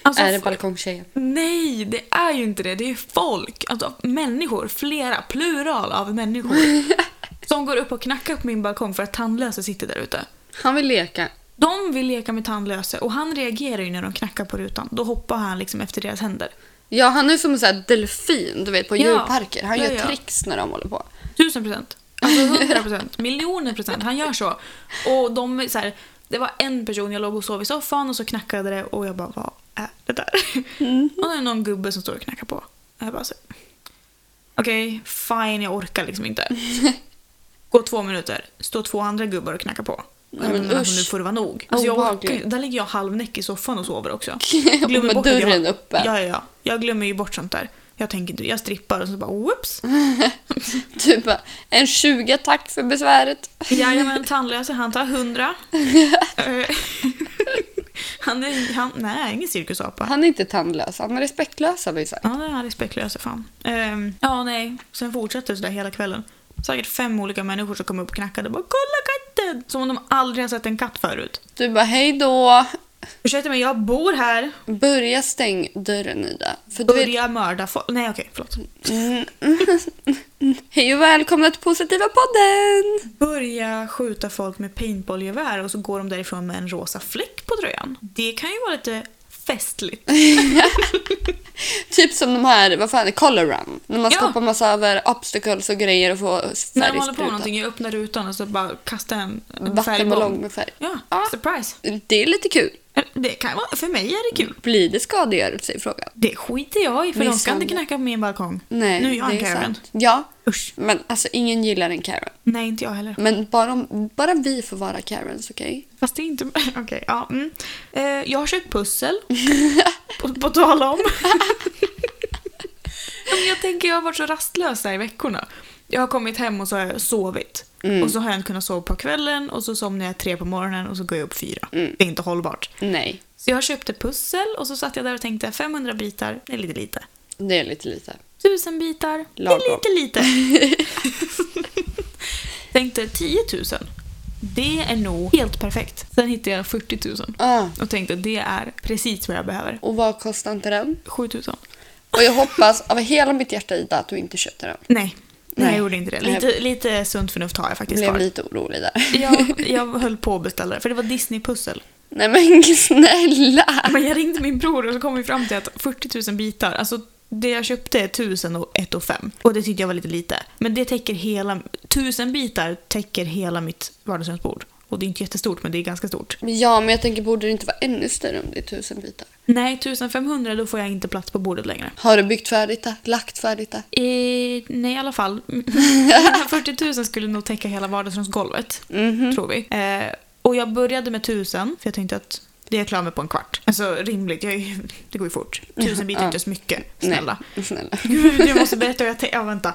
Speaker 1: Alltså,
Speaker 2: är det
Speaker 1: f-
Speaker 2: balkongtjejen?
Speaker 1: Nej, det är ju inte det. Det är folk. Alltså människor. Flera. Plural av människor. som går upp och knackar på min balkong för att tandlösa sitter där ute.
Speaker 2: Han vill leka.
Speaker 1: De vill leka med tandlösa och han reagerar ju när de knackar på rutan. Då hoppar han liksom efter deras händer.
Speaker 2: Ja, han är som en sån här delfin du vet, på
Speaker 1: Ja.
Speaker 2: djurparker. Han
Speaker 1: Ja,
Speaker 2: gör
Speaker 1: ja.
Speaker 2: tricks när de håller på.
Speaker 1: Tusen procent. Alltså hundra procent. Miljoner procent. Han gör så. Och de är så här, det var en person, jag låg och sov i soffan och så knackade det och jag bara vad är det där?
Speaker 2: Mm.
Speaker 1: Och det är någon gubbe som står och knackar på. Och jag bara så- okej, fine jag orkar liksom inte. Gå två minuter, står två andra gubbar och knackar på. Och jag
Speaker 2: men
Speaker 1: bara, alltså,
Speaker 2: Mm, usch.
Speaker 1: nu får det vara nog. Alltså, jag orkar,
Speaker 2: Obehagligt.
Speaker 1: ju- där ligger jag halvnäck i soffan och sover också.
Speaker 2: Och med
Speaker 1: bort att
Speaker 2: dörren
Speaker 1: jag,
Speaker 2: öppen.
Speaker 1: Ja, ja, ja. Jag glömmer ju bort sånt där. Jag tänker inte, jag strippar och så bara whoops.
Speaker 2: Typ bara, en 20 tack för besväret.
Speaker 1: Jajamän, tandlösa. Han tar 100. Eh, han är... Han, nej, ingen cirkusapa.
Speaker 2: Han är inte tandlös, han är respektlös har vi sagt.
Speaker 1: Ja, det här är respektlösa fan. Ehm, ja, nej. Sen fortsätter det sådär hela kvällen. Säkert fem olika människor som kom upp och knackade och bara “Kolla katten!” Som om de aldrig har sett en katt förut.
Speaker 2: Du bara, hej då.
Speaker 1: Ursäkta mig, jag bor här.
Speaker 2: Börja stäng dörren Ida. För du vet,
Speaker 1: Börja mörda folk. Nej, okej, förlåt.
Speaker 2: hej och välkomna till Positiva podden!
Speaker 1: Börja skjuta folk med paintballgevär och så går de därifrån med en rosa fläck på tröjan. Det kan ju vara lite festligt.
Speaker 2: Typ som de här, vad fan är color run? När man
Speaker 1: Ja.
Speaker 2: stoppar massa över obstacles och grejer och får
Speaker 1: När de håller på med
Speaker 2: färgspruta.
Speaker 1: någonting, jag öppnar rutan och så bara kastar en en
Speaker 2: Vattenballong
Speaker 1: färgbomb.
Speaker 2: med färg.
Speaker 1: Ja,
Speaker 2: Ja.
Speaker 1: surprise.
Speaker 2: Det är lite kul.
Speaker 1: Det kan vara, för mig är det kul.
Speaker 2: Blir det skadegörelse i frågan?
Speaker 1: Det skiter jag i för de ska
Speaker 2: Misshandel.
Speaker 1: inte knacka på min balkong.
Speaker 2: Nej,
Speaker 1: nu är jag
Speaker 2: det
Speaker 1: en Karen.
Speaker 2: sant. Ja,
Speaker 1: Usch.
Speaker 2: men alltså ingen gillar en Karen.
Speaker 1: Nej, inte jag heller.
Speaker 2: Men bara, om, bara vi får vara Karens, okej?
Speaker 1: Fast det är inte... Okej, ja. Mm. Eh, jag har köpt pussel. på, på tal om. Ja, men jag tänker, jag har varit så rastlös här i veckorna. Jag har kommit hem och så har jag sovit.
Speaker 2: Mm.
Speaker 1: Och så har jag inte kunnat sova på kvällen och så somnar jag tre på morgonen och så går jag upp fyra.
Speaker 2: Mm.
Speaker 1: Det är inte hållbart.
Speaker 2: Nej,
Speaker 1: Så jag köpte pussel och så satt jag där och tänkte 500 bitar, det är lite lite.
Speaker 2: det är lite lite.
Speaker 1: 1000 bitar,
Speaker 2: Lagom.
Speaker 1: det är lite lite. tänkte 10 000, det är nog helt perfekt. Sen hittade jag 40 000
Speaker 2: Ah,
Speaker 1: och tänkte det är precis vad jag behöver.
Speaker 2: och vad kostar inte den?
Speaker 1: 7 000.
Speaker 2: Och jag hoppas av hela mitt hjärta Ida att du inte köpte den.
Speaker 1: Nej, nej
Speaker 2: Nej.
Speaker 1: jag gjorde inte det. Lite, lite sunt förnuft har jag faktiskt
Speaker 2: Blev
Speaker 1: kvar.
Speaker 2: lite orolig där.
Speaker 1: Jag, jag höll på att beställa det, för det var Disney-pussel.
Speaker 2: Nej men snälla!
Speaker 1: Men jag ringde min bror och så kom vi fram till att 40 000 bitar, alltså det jag köpte är 1000 och 1 och 5. Och det tyckte jag var lite lite. Men det täcker hela, 1000 bitar täcker hela mitt vardagsrumsbord. Och det är inte jättestort men det är ganska stort.
Speaker 2: Ja, men jag tänker borde det inte vara ännu större om det är tusen bitar?
Speaker 1: Nej, 1500 då får jag inte plats på bordet längre.
Speaker 2: Har du byggt färdigt det? Lagt färdigt det?
Speaker 1: Eh, nej, i alla fall. Mina 40 000 skulle nog täcka hela vardagsrumsgolvet, tror vi. Eh, och jag började med 1000, för jag tänkte att det är jag klar med på en kvart. Alltså rimligt, jag är, ju- det går ju fort. 1000 bitar är inte så mycket, snälla.
Speaker 2: Nej, snälla.
Speaker 1: Gud, jag måste berätta hur jag tänkte. Ja, vänta.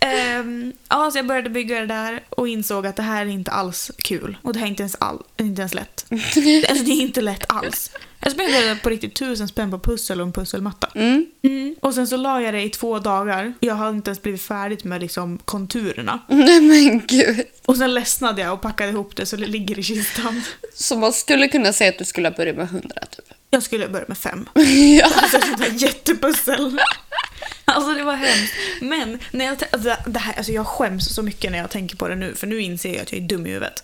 Speaker 1: Ehm, ja, så jag började bygga det där och insåg att det här är inte alls kul. Och det här är inte ens, all, inte ens lätt. alltså, det är inte lätt alls. Jag spenderade på riktigt tusen spänn på pussel och en pusselmatta.
Speaker 2: Mm.
Speaker 1: Mm. Och sen så la jag det i två dagar. Jag hade inte ens blivit färdigt med liksom konturerna.
Speaker 2: Nej men gud.
Speaker 1: Och sen ledsnade jag och packade ihop det så det ligger i kistan.
Speaker 2: Så man skulle kunna säga att du skulle ha börjat med 100 typ.
Speaker 1: Jag skulle börja med fem.
Speaker 2: ja.
Speaker 1: Alltså ett sånt där jättepussel. Alltså det var hemskt. Men när jag, t- alltså, det här, alltså, jag skäms så mycket när jag tänker på det nu för nu inser jag att jag är dum i huvudet.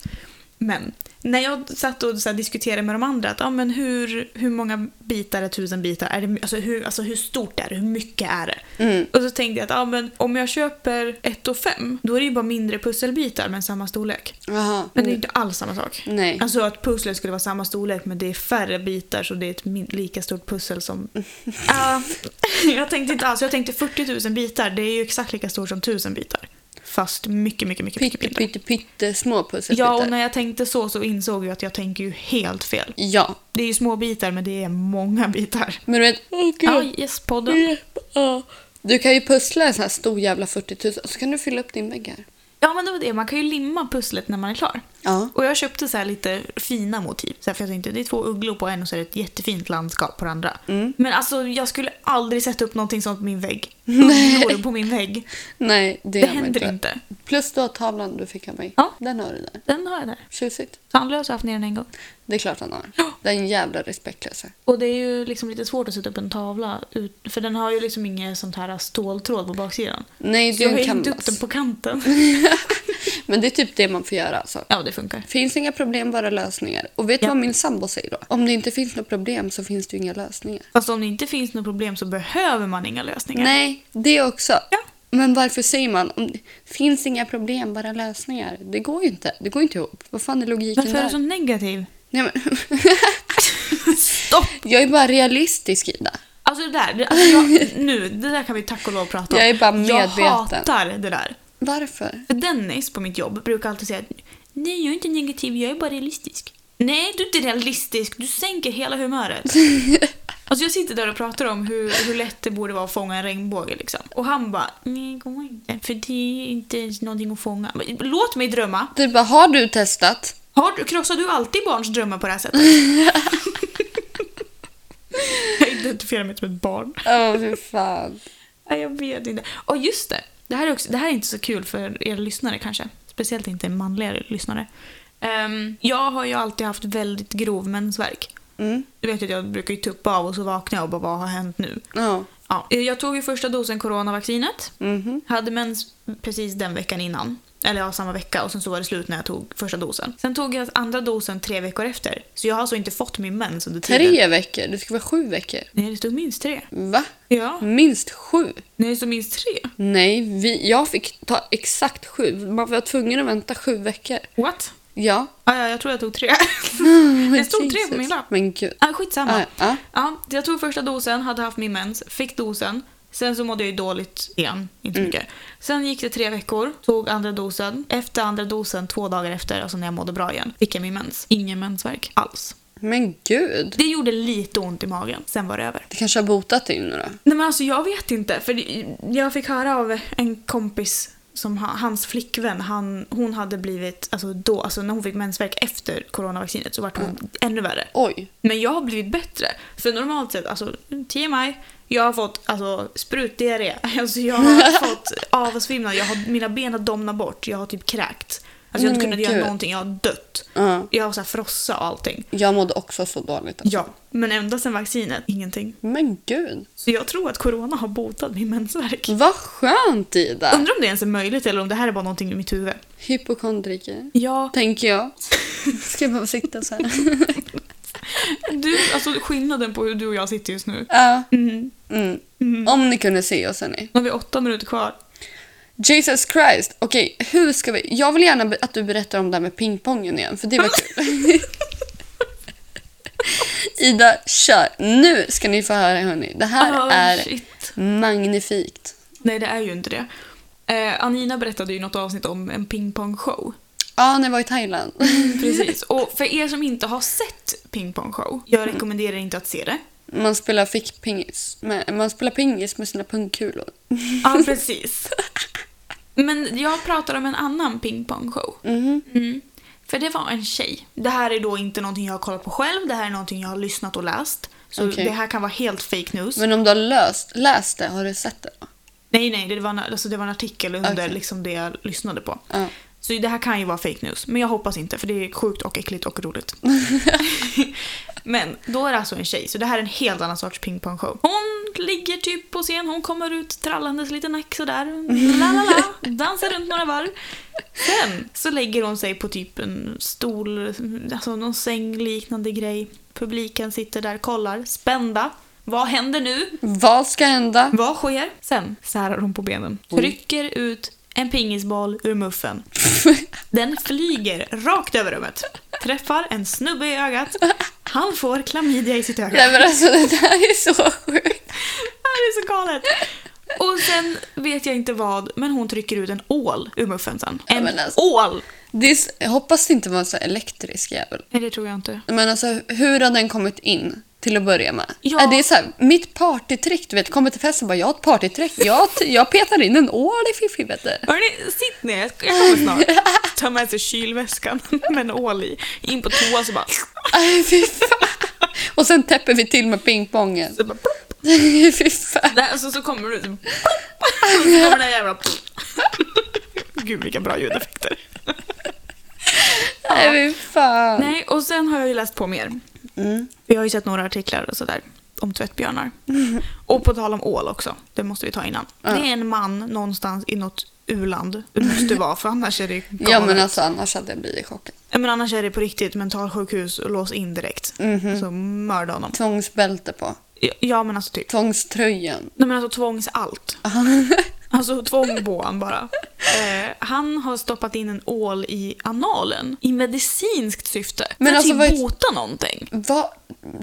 Speaker 1: Men när jag satt och så här, diskuterade med de andra att ah, men hur, hur många bitar är tusen bitar? Är det, my- alltså, hur, alltså hur stort är det? Hur mycket är det?
Speaker 2: Mm.
Speaker 1: Och så tänkte jag att ah, men, om jag köper ett och fem då är det ju bara mindre pusselbitar men samma storlek.
Speaker 2: Jaha.
Speaker 1: Men det är ju inte alls samma sak.
Speaker 2: Nej.
Speaker 1: Alltså att pusslet skulle vara samma storlek men det är färre bitar så det är ett min- lika stort pussel som... Ja, jag tänkte inte alls, jag tänkte 40 000 bitar, det är ju exakt lika stort som 1000 bitar. Fast mycket, mycket, mycket, mycket
Speaker 2: Pytte,
Speaker 1: bitar.
Speaker 2: pytte, pytte små pusselbitar.
Speaker 1: Ja, och när jag tänkte så så insåg jag att jag tänker ju helt fel.
Speaker 2: Ja.
Speaker 1: Det är ju små bitar men det är många bitar.
Speaker 2: Men du vet, åh gud.
Speaker 1: Ja, yes, podden.
Speaker 2: Hjälp, ja. Du kan ju pussla en sån här stor jävla 40 000 och så kan du fylla upp din vägg här.
Speaker 1: Ja, men det var det, man kan ju limma pusslet när man är klar.
Speaker 2: Ja.
Speaker 1: Och jag köpte så här lite fina motiv. Så här, för jag tänkte, det är två ugglor på en och så är det ett jättefint landskap på den andra.
Speaker 2: Mm.
Speaker 1: Men alltså jag skulle aldrig sätta upp någonting sånt på min vägg. Ugglor på min vägg.
Speaker 2: Nej, det,
Speaker 1: Det
Speaker 2: gör man
Speaker 1: händer inte.
Speaker 2: Plus du har tavlan du fick av mig.
Speaker 1: Ja.
Speaker 2: Den har du där.
Speaker 1: Den har jag där.
Speaker 2: Tjusigt.
Speaker 1: Tandlös har jag haft ner den en gång.
Speaker 2: Det är klart han har.
Speaker 1: Ja.
Speaker 2: Det är en jävla respektlösa.
Speaker 1: Och det är ju liksom lite svårt att sätta upp en tavla. Ut, för den har ju liksom ingen sånt här ståltråd på baksidan.
Speaker 2: Nej,
Speaker 1: Så
Speaker 2: det
Speaker 1: jag har
Speaker 2: är en
Speaker 1: hängt upp
Speaker 2: canvas.
Speaker 1: den på kanten.
Speaker 2: Men det är typ det man får göra alltså.
Speaker 1: Ja, det funkar.
Speaker 2: Finns inga problem, bara lösningar. Och vet du
Speaker 1: Ja.
Speaker 2: vad min sambo säger då? Om det inte finns några problem så finns det ju inga lösningar.
Speaker 1: Fast om det inte finns något problem så behöver man inga lösningar.
Speaker 2: Nej, det också.
Speaker 1: Ja.
Speaker 2: Men varför säger man om det finns inga problem, bara lösningar? Det går ju inte. Det går inte ihop. Vad fan är logiken
Speaker 1: Varför är
Speaker 2: där?
Speaker 1: du så negativ?
Speaker 2: Nej, men,
Speaker 1: Stopp!
Speaker 2: jag är bara realistisk, Ida.
Speaker 1: Alltså det där, det, alltså jag, nu, det där kan vi tack och lov prata om.
Speaker 2: Jag är bara medveten.
Speaker 1: Jag hatar det där.
Speaker 2: Varför?
Speaker 1: För Dennis på mitt jobb brukar alltid säga att nej, jag är inte negativ, jag är bara realistisk. Nej, du är inte realistisk, du sänker hela humöret. Alltså jag sitter där och pratar om hur, hur lätt det borde vara att fånga en regnbåge liksom. Och han bara, nej det går inte, för det är inte ens någonting att fånga. Men Låt mig drömma.
Speaker 2: Du bara, har du testat?
Speaker 1: Har, du- krossar du alltid barns drömmar på det här sättet? jag identifierar mig inte som ett barn.
Speaker 2: Åh, fy fan.
Speaker 1: Nej, jag vet inte. Och just det, det här, är också, det här är inte så kul för er lyssnare kanske. Speciellt inte manliga lyssnare. Ehm, jag har ju alltid haft väldigt grov mensvärk.
Speaker 2: Mm.
Speaker 1: Du vet ju att jag brukar ju tuppa av och så vaknar jag och bara vad har hänt nu?
Speaker 2: Ja.
Speaker 1: Ja. Eh, Jag tog ju första dosen coronavaccinet.
Speaker 2: Mhm.
Speaker 1: Hade mens precis den veckan innan. Eller ja, samma vecka och sen så var det slut när jag tog första dosen. Sen tog jag andra dosen tre veckor efter. Så jag har alltså inte fått min mens under tiden.
Speaker 2: Tre veckor? Det ska vara sju veckor.
Speaker 1: Nej, det stod minst tre.
Speaker 2: Va?
Speaker 1: Ja.
Speaker 2: Minst sju?
Speaker 1: Nej, det stod minst tre.
Speaker 2: Nej, vi, jag fick ta exakt sju. Man var tvungen att vänta sju veckor.
Speaker 1: What?
Speaker 2: Ja.
Speaker 1: Ah, ja, jag tror jag tog tre. Mm, det stod tre på min lapp.
Speaker 2: Men gud.
Speaker 1: Ah, skitsamma.
Speaker 2: Ja, ja.
Speaker 1: Ja, jag tog första dosen, hade haft min mens, fick dosen. Sen så mådde jag ju dåligt igen, inte så mycket. Sen gick det tre veckor, tog andra dosen. Efter andra dosen, två dagar efter, alltså när jag mådde bra igen, fick jag min mens. Ingen mensvärk alls.
Speaker 2: Men gud.
Speaker 1: Det gjorde lite ont i magen, sen var det över.
Speaker 2: Det kanske har botat dig nu då?
Speaker 1: Nej men alltså jag vet inte, för det- jag fick höra av en kompis som ha- hans flickvän, han, hon hade blivit, alltså då, alltså när hon fick mensvärk efter coronavaccinet så var hon ännu värre.
Speaker 2: Oj.
Speaker 1: Men jag har blivit bättre. För normalt sett, alltså TMI, jag har fått alltså, sprutdiarré. Alltså, jag har fått avsvimmnad, jag har, mina ben har domnat bort, jag har typ kräkt. Alltså, jag har inte
Speaker 2: Nej, men
Speaker 1: kunnat göra
Speaker 2: gud.
Speaker 1: någonting, jag har dött.
Speaker 2: Ja.
Speaker 1: Jag har så här frossa och allting.
Speaker 2: Jag mådde också så dåligt. alltså.
Speaker 1: Ja, men ända sedan vaccinet, ingenting.
Speaker 2: Men gud.
Speaker 1: Så jag tror att corona har botat min mensvärk.
Speaker 2: Vad skönt Ida.
Speaker 1: Undrar om det ens är möjligt eller om det här är bara någonting i mitt huvud.
Speaker 2: Hypokondriker.
Speaker 1: Ja,
Speaker 2: Tänker jag. Ska jag behöva sitta så här?
Speaker 1: du, alltså skillnaden på hur du och jag sitter just nu.
Speaker 2: Ja.
Speaker 1: Mm.
Speaker 2: Mm.
Speaker 1: Mm.
Speaker 2: Om ni kunde se oss hörni.
Speaker 1: Nu har vi åtta minuter kvar.
Speaker 2: Jesus Christ. Okej, hur ska vi... Jag vill gärna be- att du berättar om det här med pingpongen igen, för det var kul. Ida, kör. Nu ska ni få höra hörni. Det här
Speaker 1: Ah,
Speaker 2: är
Speaker 1: shit.
Speaker 2: magnifikt.
Speaker 1: Nej, det är ju inte det. Eh, Anina berättade ju något avsnitt om en pingpongshow.
Speaker 2: Ja, när jag var i Thailand.
Speaker 1: Precis. Och för er som inte har sett pingpongshow, jag rekommenderar inte att se det.
Speaker 2: Man spelar fickpingis. med- Man spelar pingis med sina pungkulor.
Speaker 1: Ja, precis. Men jag pratar om en annan pingpongshow.
Speaker 2: Mhm.
Speaker 1: Mm. För det var en tjej. Det här är då inte någonting jag har kollat på själv, det här är någonting jag har lyssnat och läst. Så
Speaker 2: Okej.
Speaker 1: det här kan vara helt fake news.
Speaker 2: Men om du har löst, läst det, har du sett det då?
Speaker 1: Nej, nej, det var, en- alltså, det var en artikel under
Speaker 2: Okej.
Speaker 1: liksom, det jag lyssnade på.
Speaker 2: Ja.
Speaker 1: Så det här kan ju vara fake news, men jag hoppas inte för det är sjukt och äckligt och roligt. men då är det alltså en tjej, så det här är en helt annan sorts pingpongshow. Hon ligger typ på scen, hon kommer ut trallandes lite nack sådär, la la la, dansar runt några varv. Sen så lägger hon sig på typ en stol, alltså någon sängliknande grej. Publiken sitter där, kollar, spända. Vad händer nu?
Speaker 2: Vad ska hända?
Speaker 1: Vad sker? Sen särar hon på benen. Trycker ut en pingisboll ur muffen. Den flyger rakt över rummet. Träffar en snubbe i ögat. Han får klamydia i sitt öga.
Speaker 2: Nej men alltså det där är så sjukt.
Speaker 1: Det här är så galet. Och sen vet jag inte vad, men hon trycker ut en ål ur muffen sen. En
Speaker 2: men alltså-
Speaker 1: ål!
Speaker 2: Det är, s- jag hoppas det inte var en sån här elektrisk jävel.
Speaker 1: Nej, det tror jag inte.
Speaker 2: Men alltså hur har den kommit in till att börja med?
Speaker 1: Ja.
Speaker 2: Är det så här, mitt partytrick, du vet, kommer till festen och bara jag har ett partytrick, jag, jag petar in en ål i fiffi vet du.
Speaker 1: Hörni, sitt ner, jag kommer snart. Ta med sig kylväskan med en ål i. In på toa så bara...
Speaker 2: Nej, Äh, fy fan. Och sen täpper vi till med pingpongen.
Speaker 1: Så bara
Speaker 2: fy fan.
Speaker 1: Där, och så, så kommer du ut. Och så kommer den jävla... Gud vilka bra ljudeffekter.
Speaker 2: Nej, Äh, fy fan.
Speaker 1: Nej, och sen har jag ju läst på mer.
Speaker 2: Mm.
Speaker 1: Vi har ju sett några artiklar och sådär om tvättbjörnar. Och på tal om ål också, det måste vi ta innan. Det är en man någonstans i något u-land. Det måste vara, för annars är det galet.
Speaker 2: Ja men alltså annars hade jag blivit chockad.
Speaker 1: Ja, men annars är det på riktigt mentalsjukhus och lås in direkt.
Speaker 2: Mhm.
Speaker 1: Så mörda honom.
Speaker 2: Tvångsbälte på.
Speaker 1: Ja men alltså typ.
Speaker 2: Tvångströjan.
Speaker 1: Nej men alltså tvångs allt. Alltså tvång på han bara. Eh, han har stoppat in en ål i analen i medicinskt syfte.
Speaker 2: Men
Speaker 1: Men
Speaker 2: alltså,
Speaker 1: alltså,
Speaker 2: vad
Speaker 1: att
Speaker 2: är-
Speaker 1: typ bota någonting.
Speaker 2: Vad?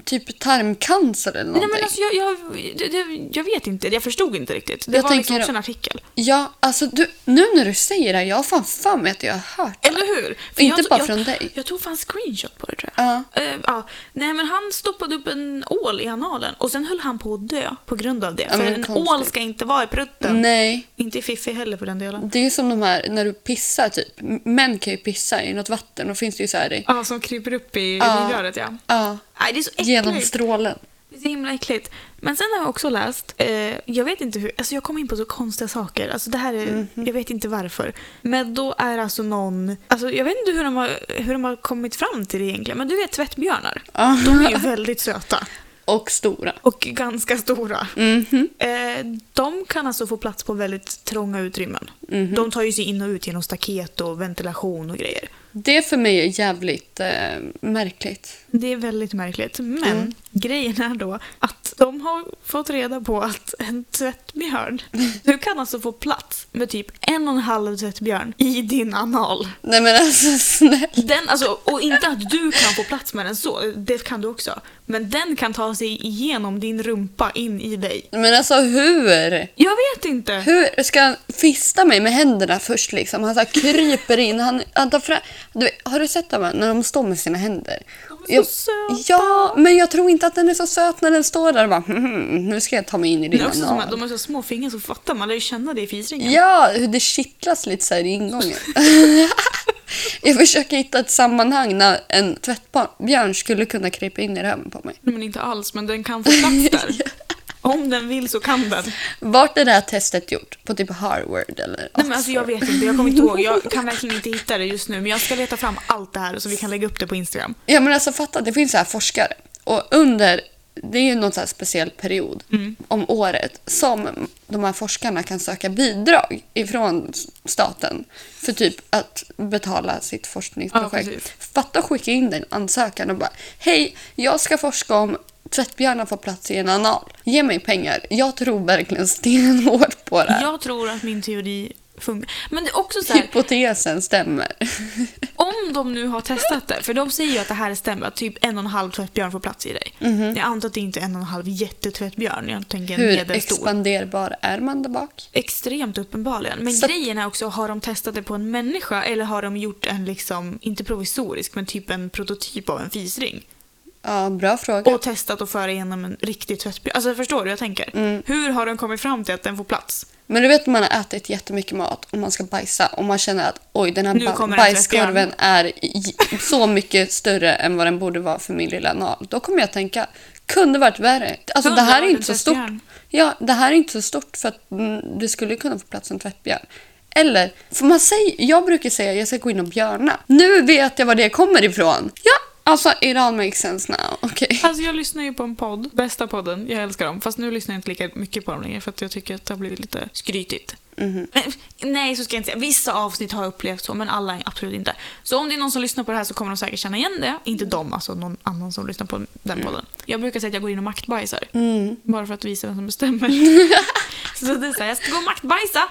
Speaker 2: Typ tarmcancer eller
Speaker 1: Nej
Speaker 2: någonting?
Speaker 1: men alltså jag, jag, det- det- jag vet inte, jag förstod inte riktigt. Det
Speaker 2: Jag
Speaker 1: var liksom
Speaker 2: tänker-
Speaker 1: också en artikel.
Speaker 2: Ja, alltså du, nu när du säger det här, jag har fan för mig att jag har hört det.
Speaker 1: Eller hur?
Speaker 2: Inte
Speaker 1: jag,
Speaker 2: bara
Speaker 1: jag,
Speaker 2: från dig.
Speaker 1: Jag tog fan screenshot på det tror jag.
Speaker 2: Ja.
Speaker 1: Eh, ja. nej men han stoppade upp en ål i analen och sen höll han på att dö på grund av det.
Speaker 2: men
Speaker 1: För
Speaker 2: det är
Speaker 1: en
Speaker 2: konstigt.
Speaker 1: ål ska inte vara i prutten.
Speaker 2: Nej,
Speaker 1: Inte i fiffi heller för den delen.
Speaker 2: det är ju som de här när du pissar typ. M- Män kan ju pissa i något vatten, då finns det ju så här i...
Speaker 1: Ja, som kryper upp i
Speaker 2: Ja.
Speaker 1: röret ja.
Speaker 2: Ja,
Speaker 1: Nej, det är så äckligt.
Speaker 2: genom strålen.
Speaker 1: Det är så himla äckligt. Men sen har jag också läst, eh, jag vet inte hur, alltså jag kom in på så konstiga saker. Alltså det här är, jag vet inte varför. Men då är alltså någon, alltså jag vet inte hur de har, hur de har kommit fram till det egentligen. Men du vet tvättbjörnar?
Speaker 2: Ja.
Speaker 1: De är ju väldigt söta.
Speaker 2: Och stora.
Speaker 1: Och ganska stora.
Speaker 2: Mhm.
Speaker 1: Eh, de kan alltså få plats på väldigt trånga utrymmen. De tar ju sig in och ut genom staket och ventilation och grejer.
Speaker 2: Det för mig är jävligt eh, märkligt.
Speaker 1: Det är väldigt märkligt. Men grejen är då att de har fått reda på att en tvättbjörn, du kan alltså få plats med typ en och en halv tvättbjörn i din anal.
Speaker 2: Nej men alltså snälla.
Speaker 1: Den, alltså, och inte att du kan få plats med den så, det kan du också. Men den kan ta sig igenom din rumpa in i dig.
Speaker 2: Men alltså hur?
Speaker 1: Jag vet inte!
Speaker 2: Hur ska han fista mig med händerna först liksom? Han så här kryper in, han, han tar fram... Du, vet, har du sett dem här, när de står med sina händer?
Speaker 1: De är så söta.
Speaker 2: Ja, men jag tror inte att den är så söt när den står där och bara "Mhm, nu ska jag ta mig in i
Speaker 1: Det är
Speaker 2: din
Speaker 1: också som att
Speaker 2: anal.
Speaker 1: de har så små fingrar så fattar man lär ju känna det i fisringen.
Speaker 2: Ja, hur det kittlas lite så här i ingången. jag försöker hitta ett sammanhang när en tvättbjörn skulle kunna krypa in i röven på mig.
Speaker 1: Men inte alls, men den kan få plats där. Om den vill så kan den.
Speaker 2: Vart är det här testet gjort? På typ Harvard eller
Speaker 1: Nej, men alltså, jag vet inte, jag kommer inte ihåg. Jag kan verkligen inte hitta det just nu. Men jag ska leta fram allt det här så vi kan lägga upp det på Instagram.
Speaker 2: Ja men alltså fatta, det finns så här forskare. Och under, det är ju någon så här speciell period
Speaker 1: Mm.
Speaker 2: om året som de här forskarna kan söka bidrag ifrån s- staten för typ att betala sitt forskningsprojekt.
Speaker 1: Ja, precis.
Speaker 2: fatta att skicka in den ansökan och bara hej, jag ska forska om tvättbjörnar får plats i en anal. Ge mig pengar. Jag tror verkligen stenhårt på det här.
Speaker 1: Jag tror att min teori funkar. Men det är också så här,
Speaker 2: Hypotesen stämmer.
Speaker 1: om de nu har testat det, för de säger ju att det här stämmer, att typ en och en halv tvättbjörn får plats i dig. Jag antar att det inte är en och en halv jättetvättbjörn, jag tänker en
Speaker 2: Hur
Speaker 1: medelstor.
Speaker 2: expanderbar är man där bak?
Speaker 1: Extremt uppenbarligen. Men
Speaker 2: Så-
Speaker 1: grejen är också, har de testat det på en människa eller har de gjort en, liksom, inte provisorisk, men typ en prototyp av en fisring?
Speaker 2: Ja. Ja, bra fråga.
Speaker 1: och testat att föra igenom en riktig tvättbyrå. Alltså förstår du hur jag tänker? Hur har de kommit fram till att den får plats?
Speaker 2: Men du vet när man har ätit jättemycket mat och man ska bajsa och man känner att oj, den här
Speaker 1: Nu
Speaker 2: ba-
Speaker 1: kommer den
Speaker 2: bajskorven är i- så mycket större än vad den borde vara för min lilla anal. Då kommer jag tänka, kunde varit värre. Alltså
Speaker 1: Kunde
Speaker 2: det här är
Speaker 1: varit
Speaker 2: inte så
Speaker 1: en
Speaker 2: stort.
Speaker 1: tvättbjörn.
Speaker 2: Ja, det här är inte så stort för att mm, det skulle kunna få plats en tvättbjörn. Eller, för man säger, jag brukar säga jag ska gå in och björna. Nu vet jag var det kommer ifrån. Ja, alltså it all makes sense now. Okej.
Speaker 1: Alltså jag lyssnar ju på en podd, bästa podden, jag älskar dem. Fast nu lyssnar jag inte lika mycket på dem längre för att jag tycker att det har blivit lite skrytigt. Men, nej, så ska jag inte säga. Vissa avsnitt har jag upplevt så, men alla absolut inte. Så om det är någon som lyssnar på det här så kommer de säkert känna igen det. Inte de, alltså någon annan som lyssnar på den podden. Jag brukar säga att jag går in och maktbajsar. Bara för att visa vem som bestämmer. så det är så här, jag ska gå och maktbajsa.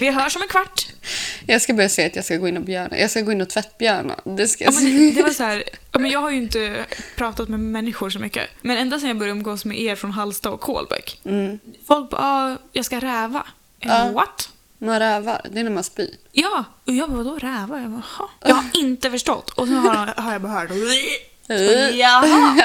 Speaker 1: Vi hörs om en kvart.
Speaker 2: Jag ska börja säga att jag ska gå in och björna. Jag ska gå in och tvättbjörna. Det ska
Speaker 1: Ja,
Speaker 2: jag säga.
Speaker 1: men det var så här, ja, men jag har ju inte pratat med människor så mycket. Men ända sedan jag började umgås med er från Halsta och Kolbäck.
Speaker 2: Mm.
Speaker 1: Folk bara, "Ah, jag ska räva.
Speaker 2: Ja.
Speaker 1: Ja. What?
Speaker 2: Man rävar, det är när man spyr.
Speaker 1: Ja, och jag bara, vadå räva? Jag bara, "Jaha."
Speaker 2: Ah.
Speaker 1: Jag har inte förstått. Och sen har, har jag bara hört,
Speaker 2: Ah.
Speaker 1: och jaha,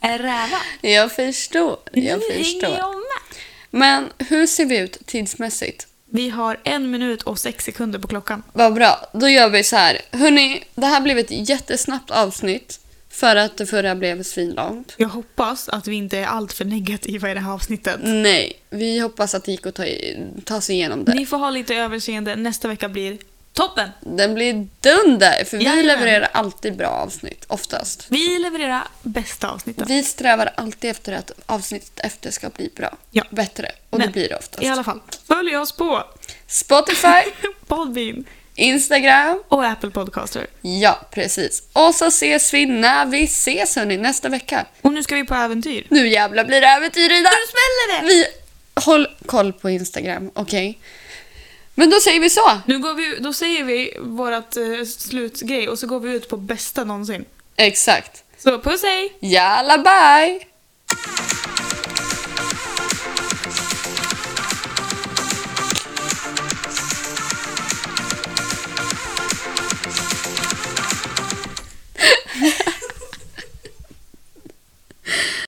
Speaker 1: en räva.
Speaker 2: Jag förstår, jag
Speaker 1: Nu hänger
Speaker 2: förstår.
Speaker 1: jag med.
Speaker 2: Men hur ser vi ut tidsmässigt?
Speaker 1: Vi har en minut och sex sekunder på klockan.
Speaker 2: Vad bra, då gör vi så här. Hörni, det här blev ett jättesnabbt avsnitt för att det förra blev svinlångt.
Speaker 1: Jag hoppas att vi inte är alltför negativa i det här avsnittet.
Speaker 2: Nej, vi hoppas att det gick att ta, i- ta sig igenom det.
Speaker 1: Ni får ha lite överseende. Nästa vecka blir toppen.
Speaker 2: Den blir dunder, för vi
Speaker 1: Jajamän.
Speaker 2: levererar alltid bra avsnitt, oftast.
Speaker 1: Vi levererar bästa avsnitten.
Speaker 2: Vi strävar alltid efter att avsnittet efter ska bli bra.
Speaker 1: Ja.
Speaker 2: Bättre. Och det
Speaker 1: Men-
Speaker 2: blir det oftast.
Speaker 1: I alla fall, följ oss på
Speaker 2: Spotify,
Speaker 1: Podbean
Speaker 2: Instagram.
Speaker 1: och Apple Podcaster.
Speaker 2: Ja, precis. Och så ses vi när vi ses hörni, nästa vecka.
Speaker 1: Och nu ska vi på äventyr.
Speaker 2: Nu jävlar blir det äventyr idag!
Speaker 1: Nu smäller det!
Speaker 2: Vi håll koll på Instagram, okej? Men då säger vi så!
Speaker 1: Nu går vi, då säger vi vårt eh, slutgrej och så går vi ut på bästa någonsin.
Speaker 2: Exakt.
Speaker 1: Så puss hej!
Speaker 2: Jalla bye!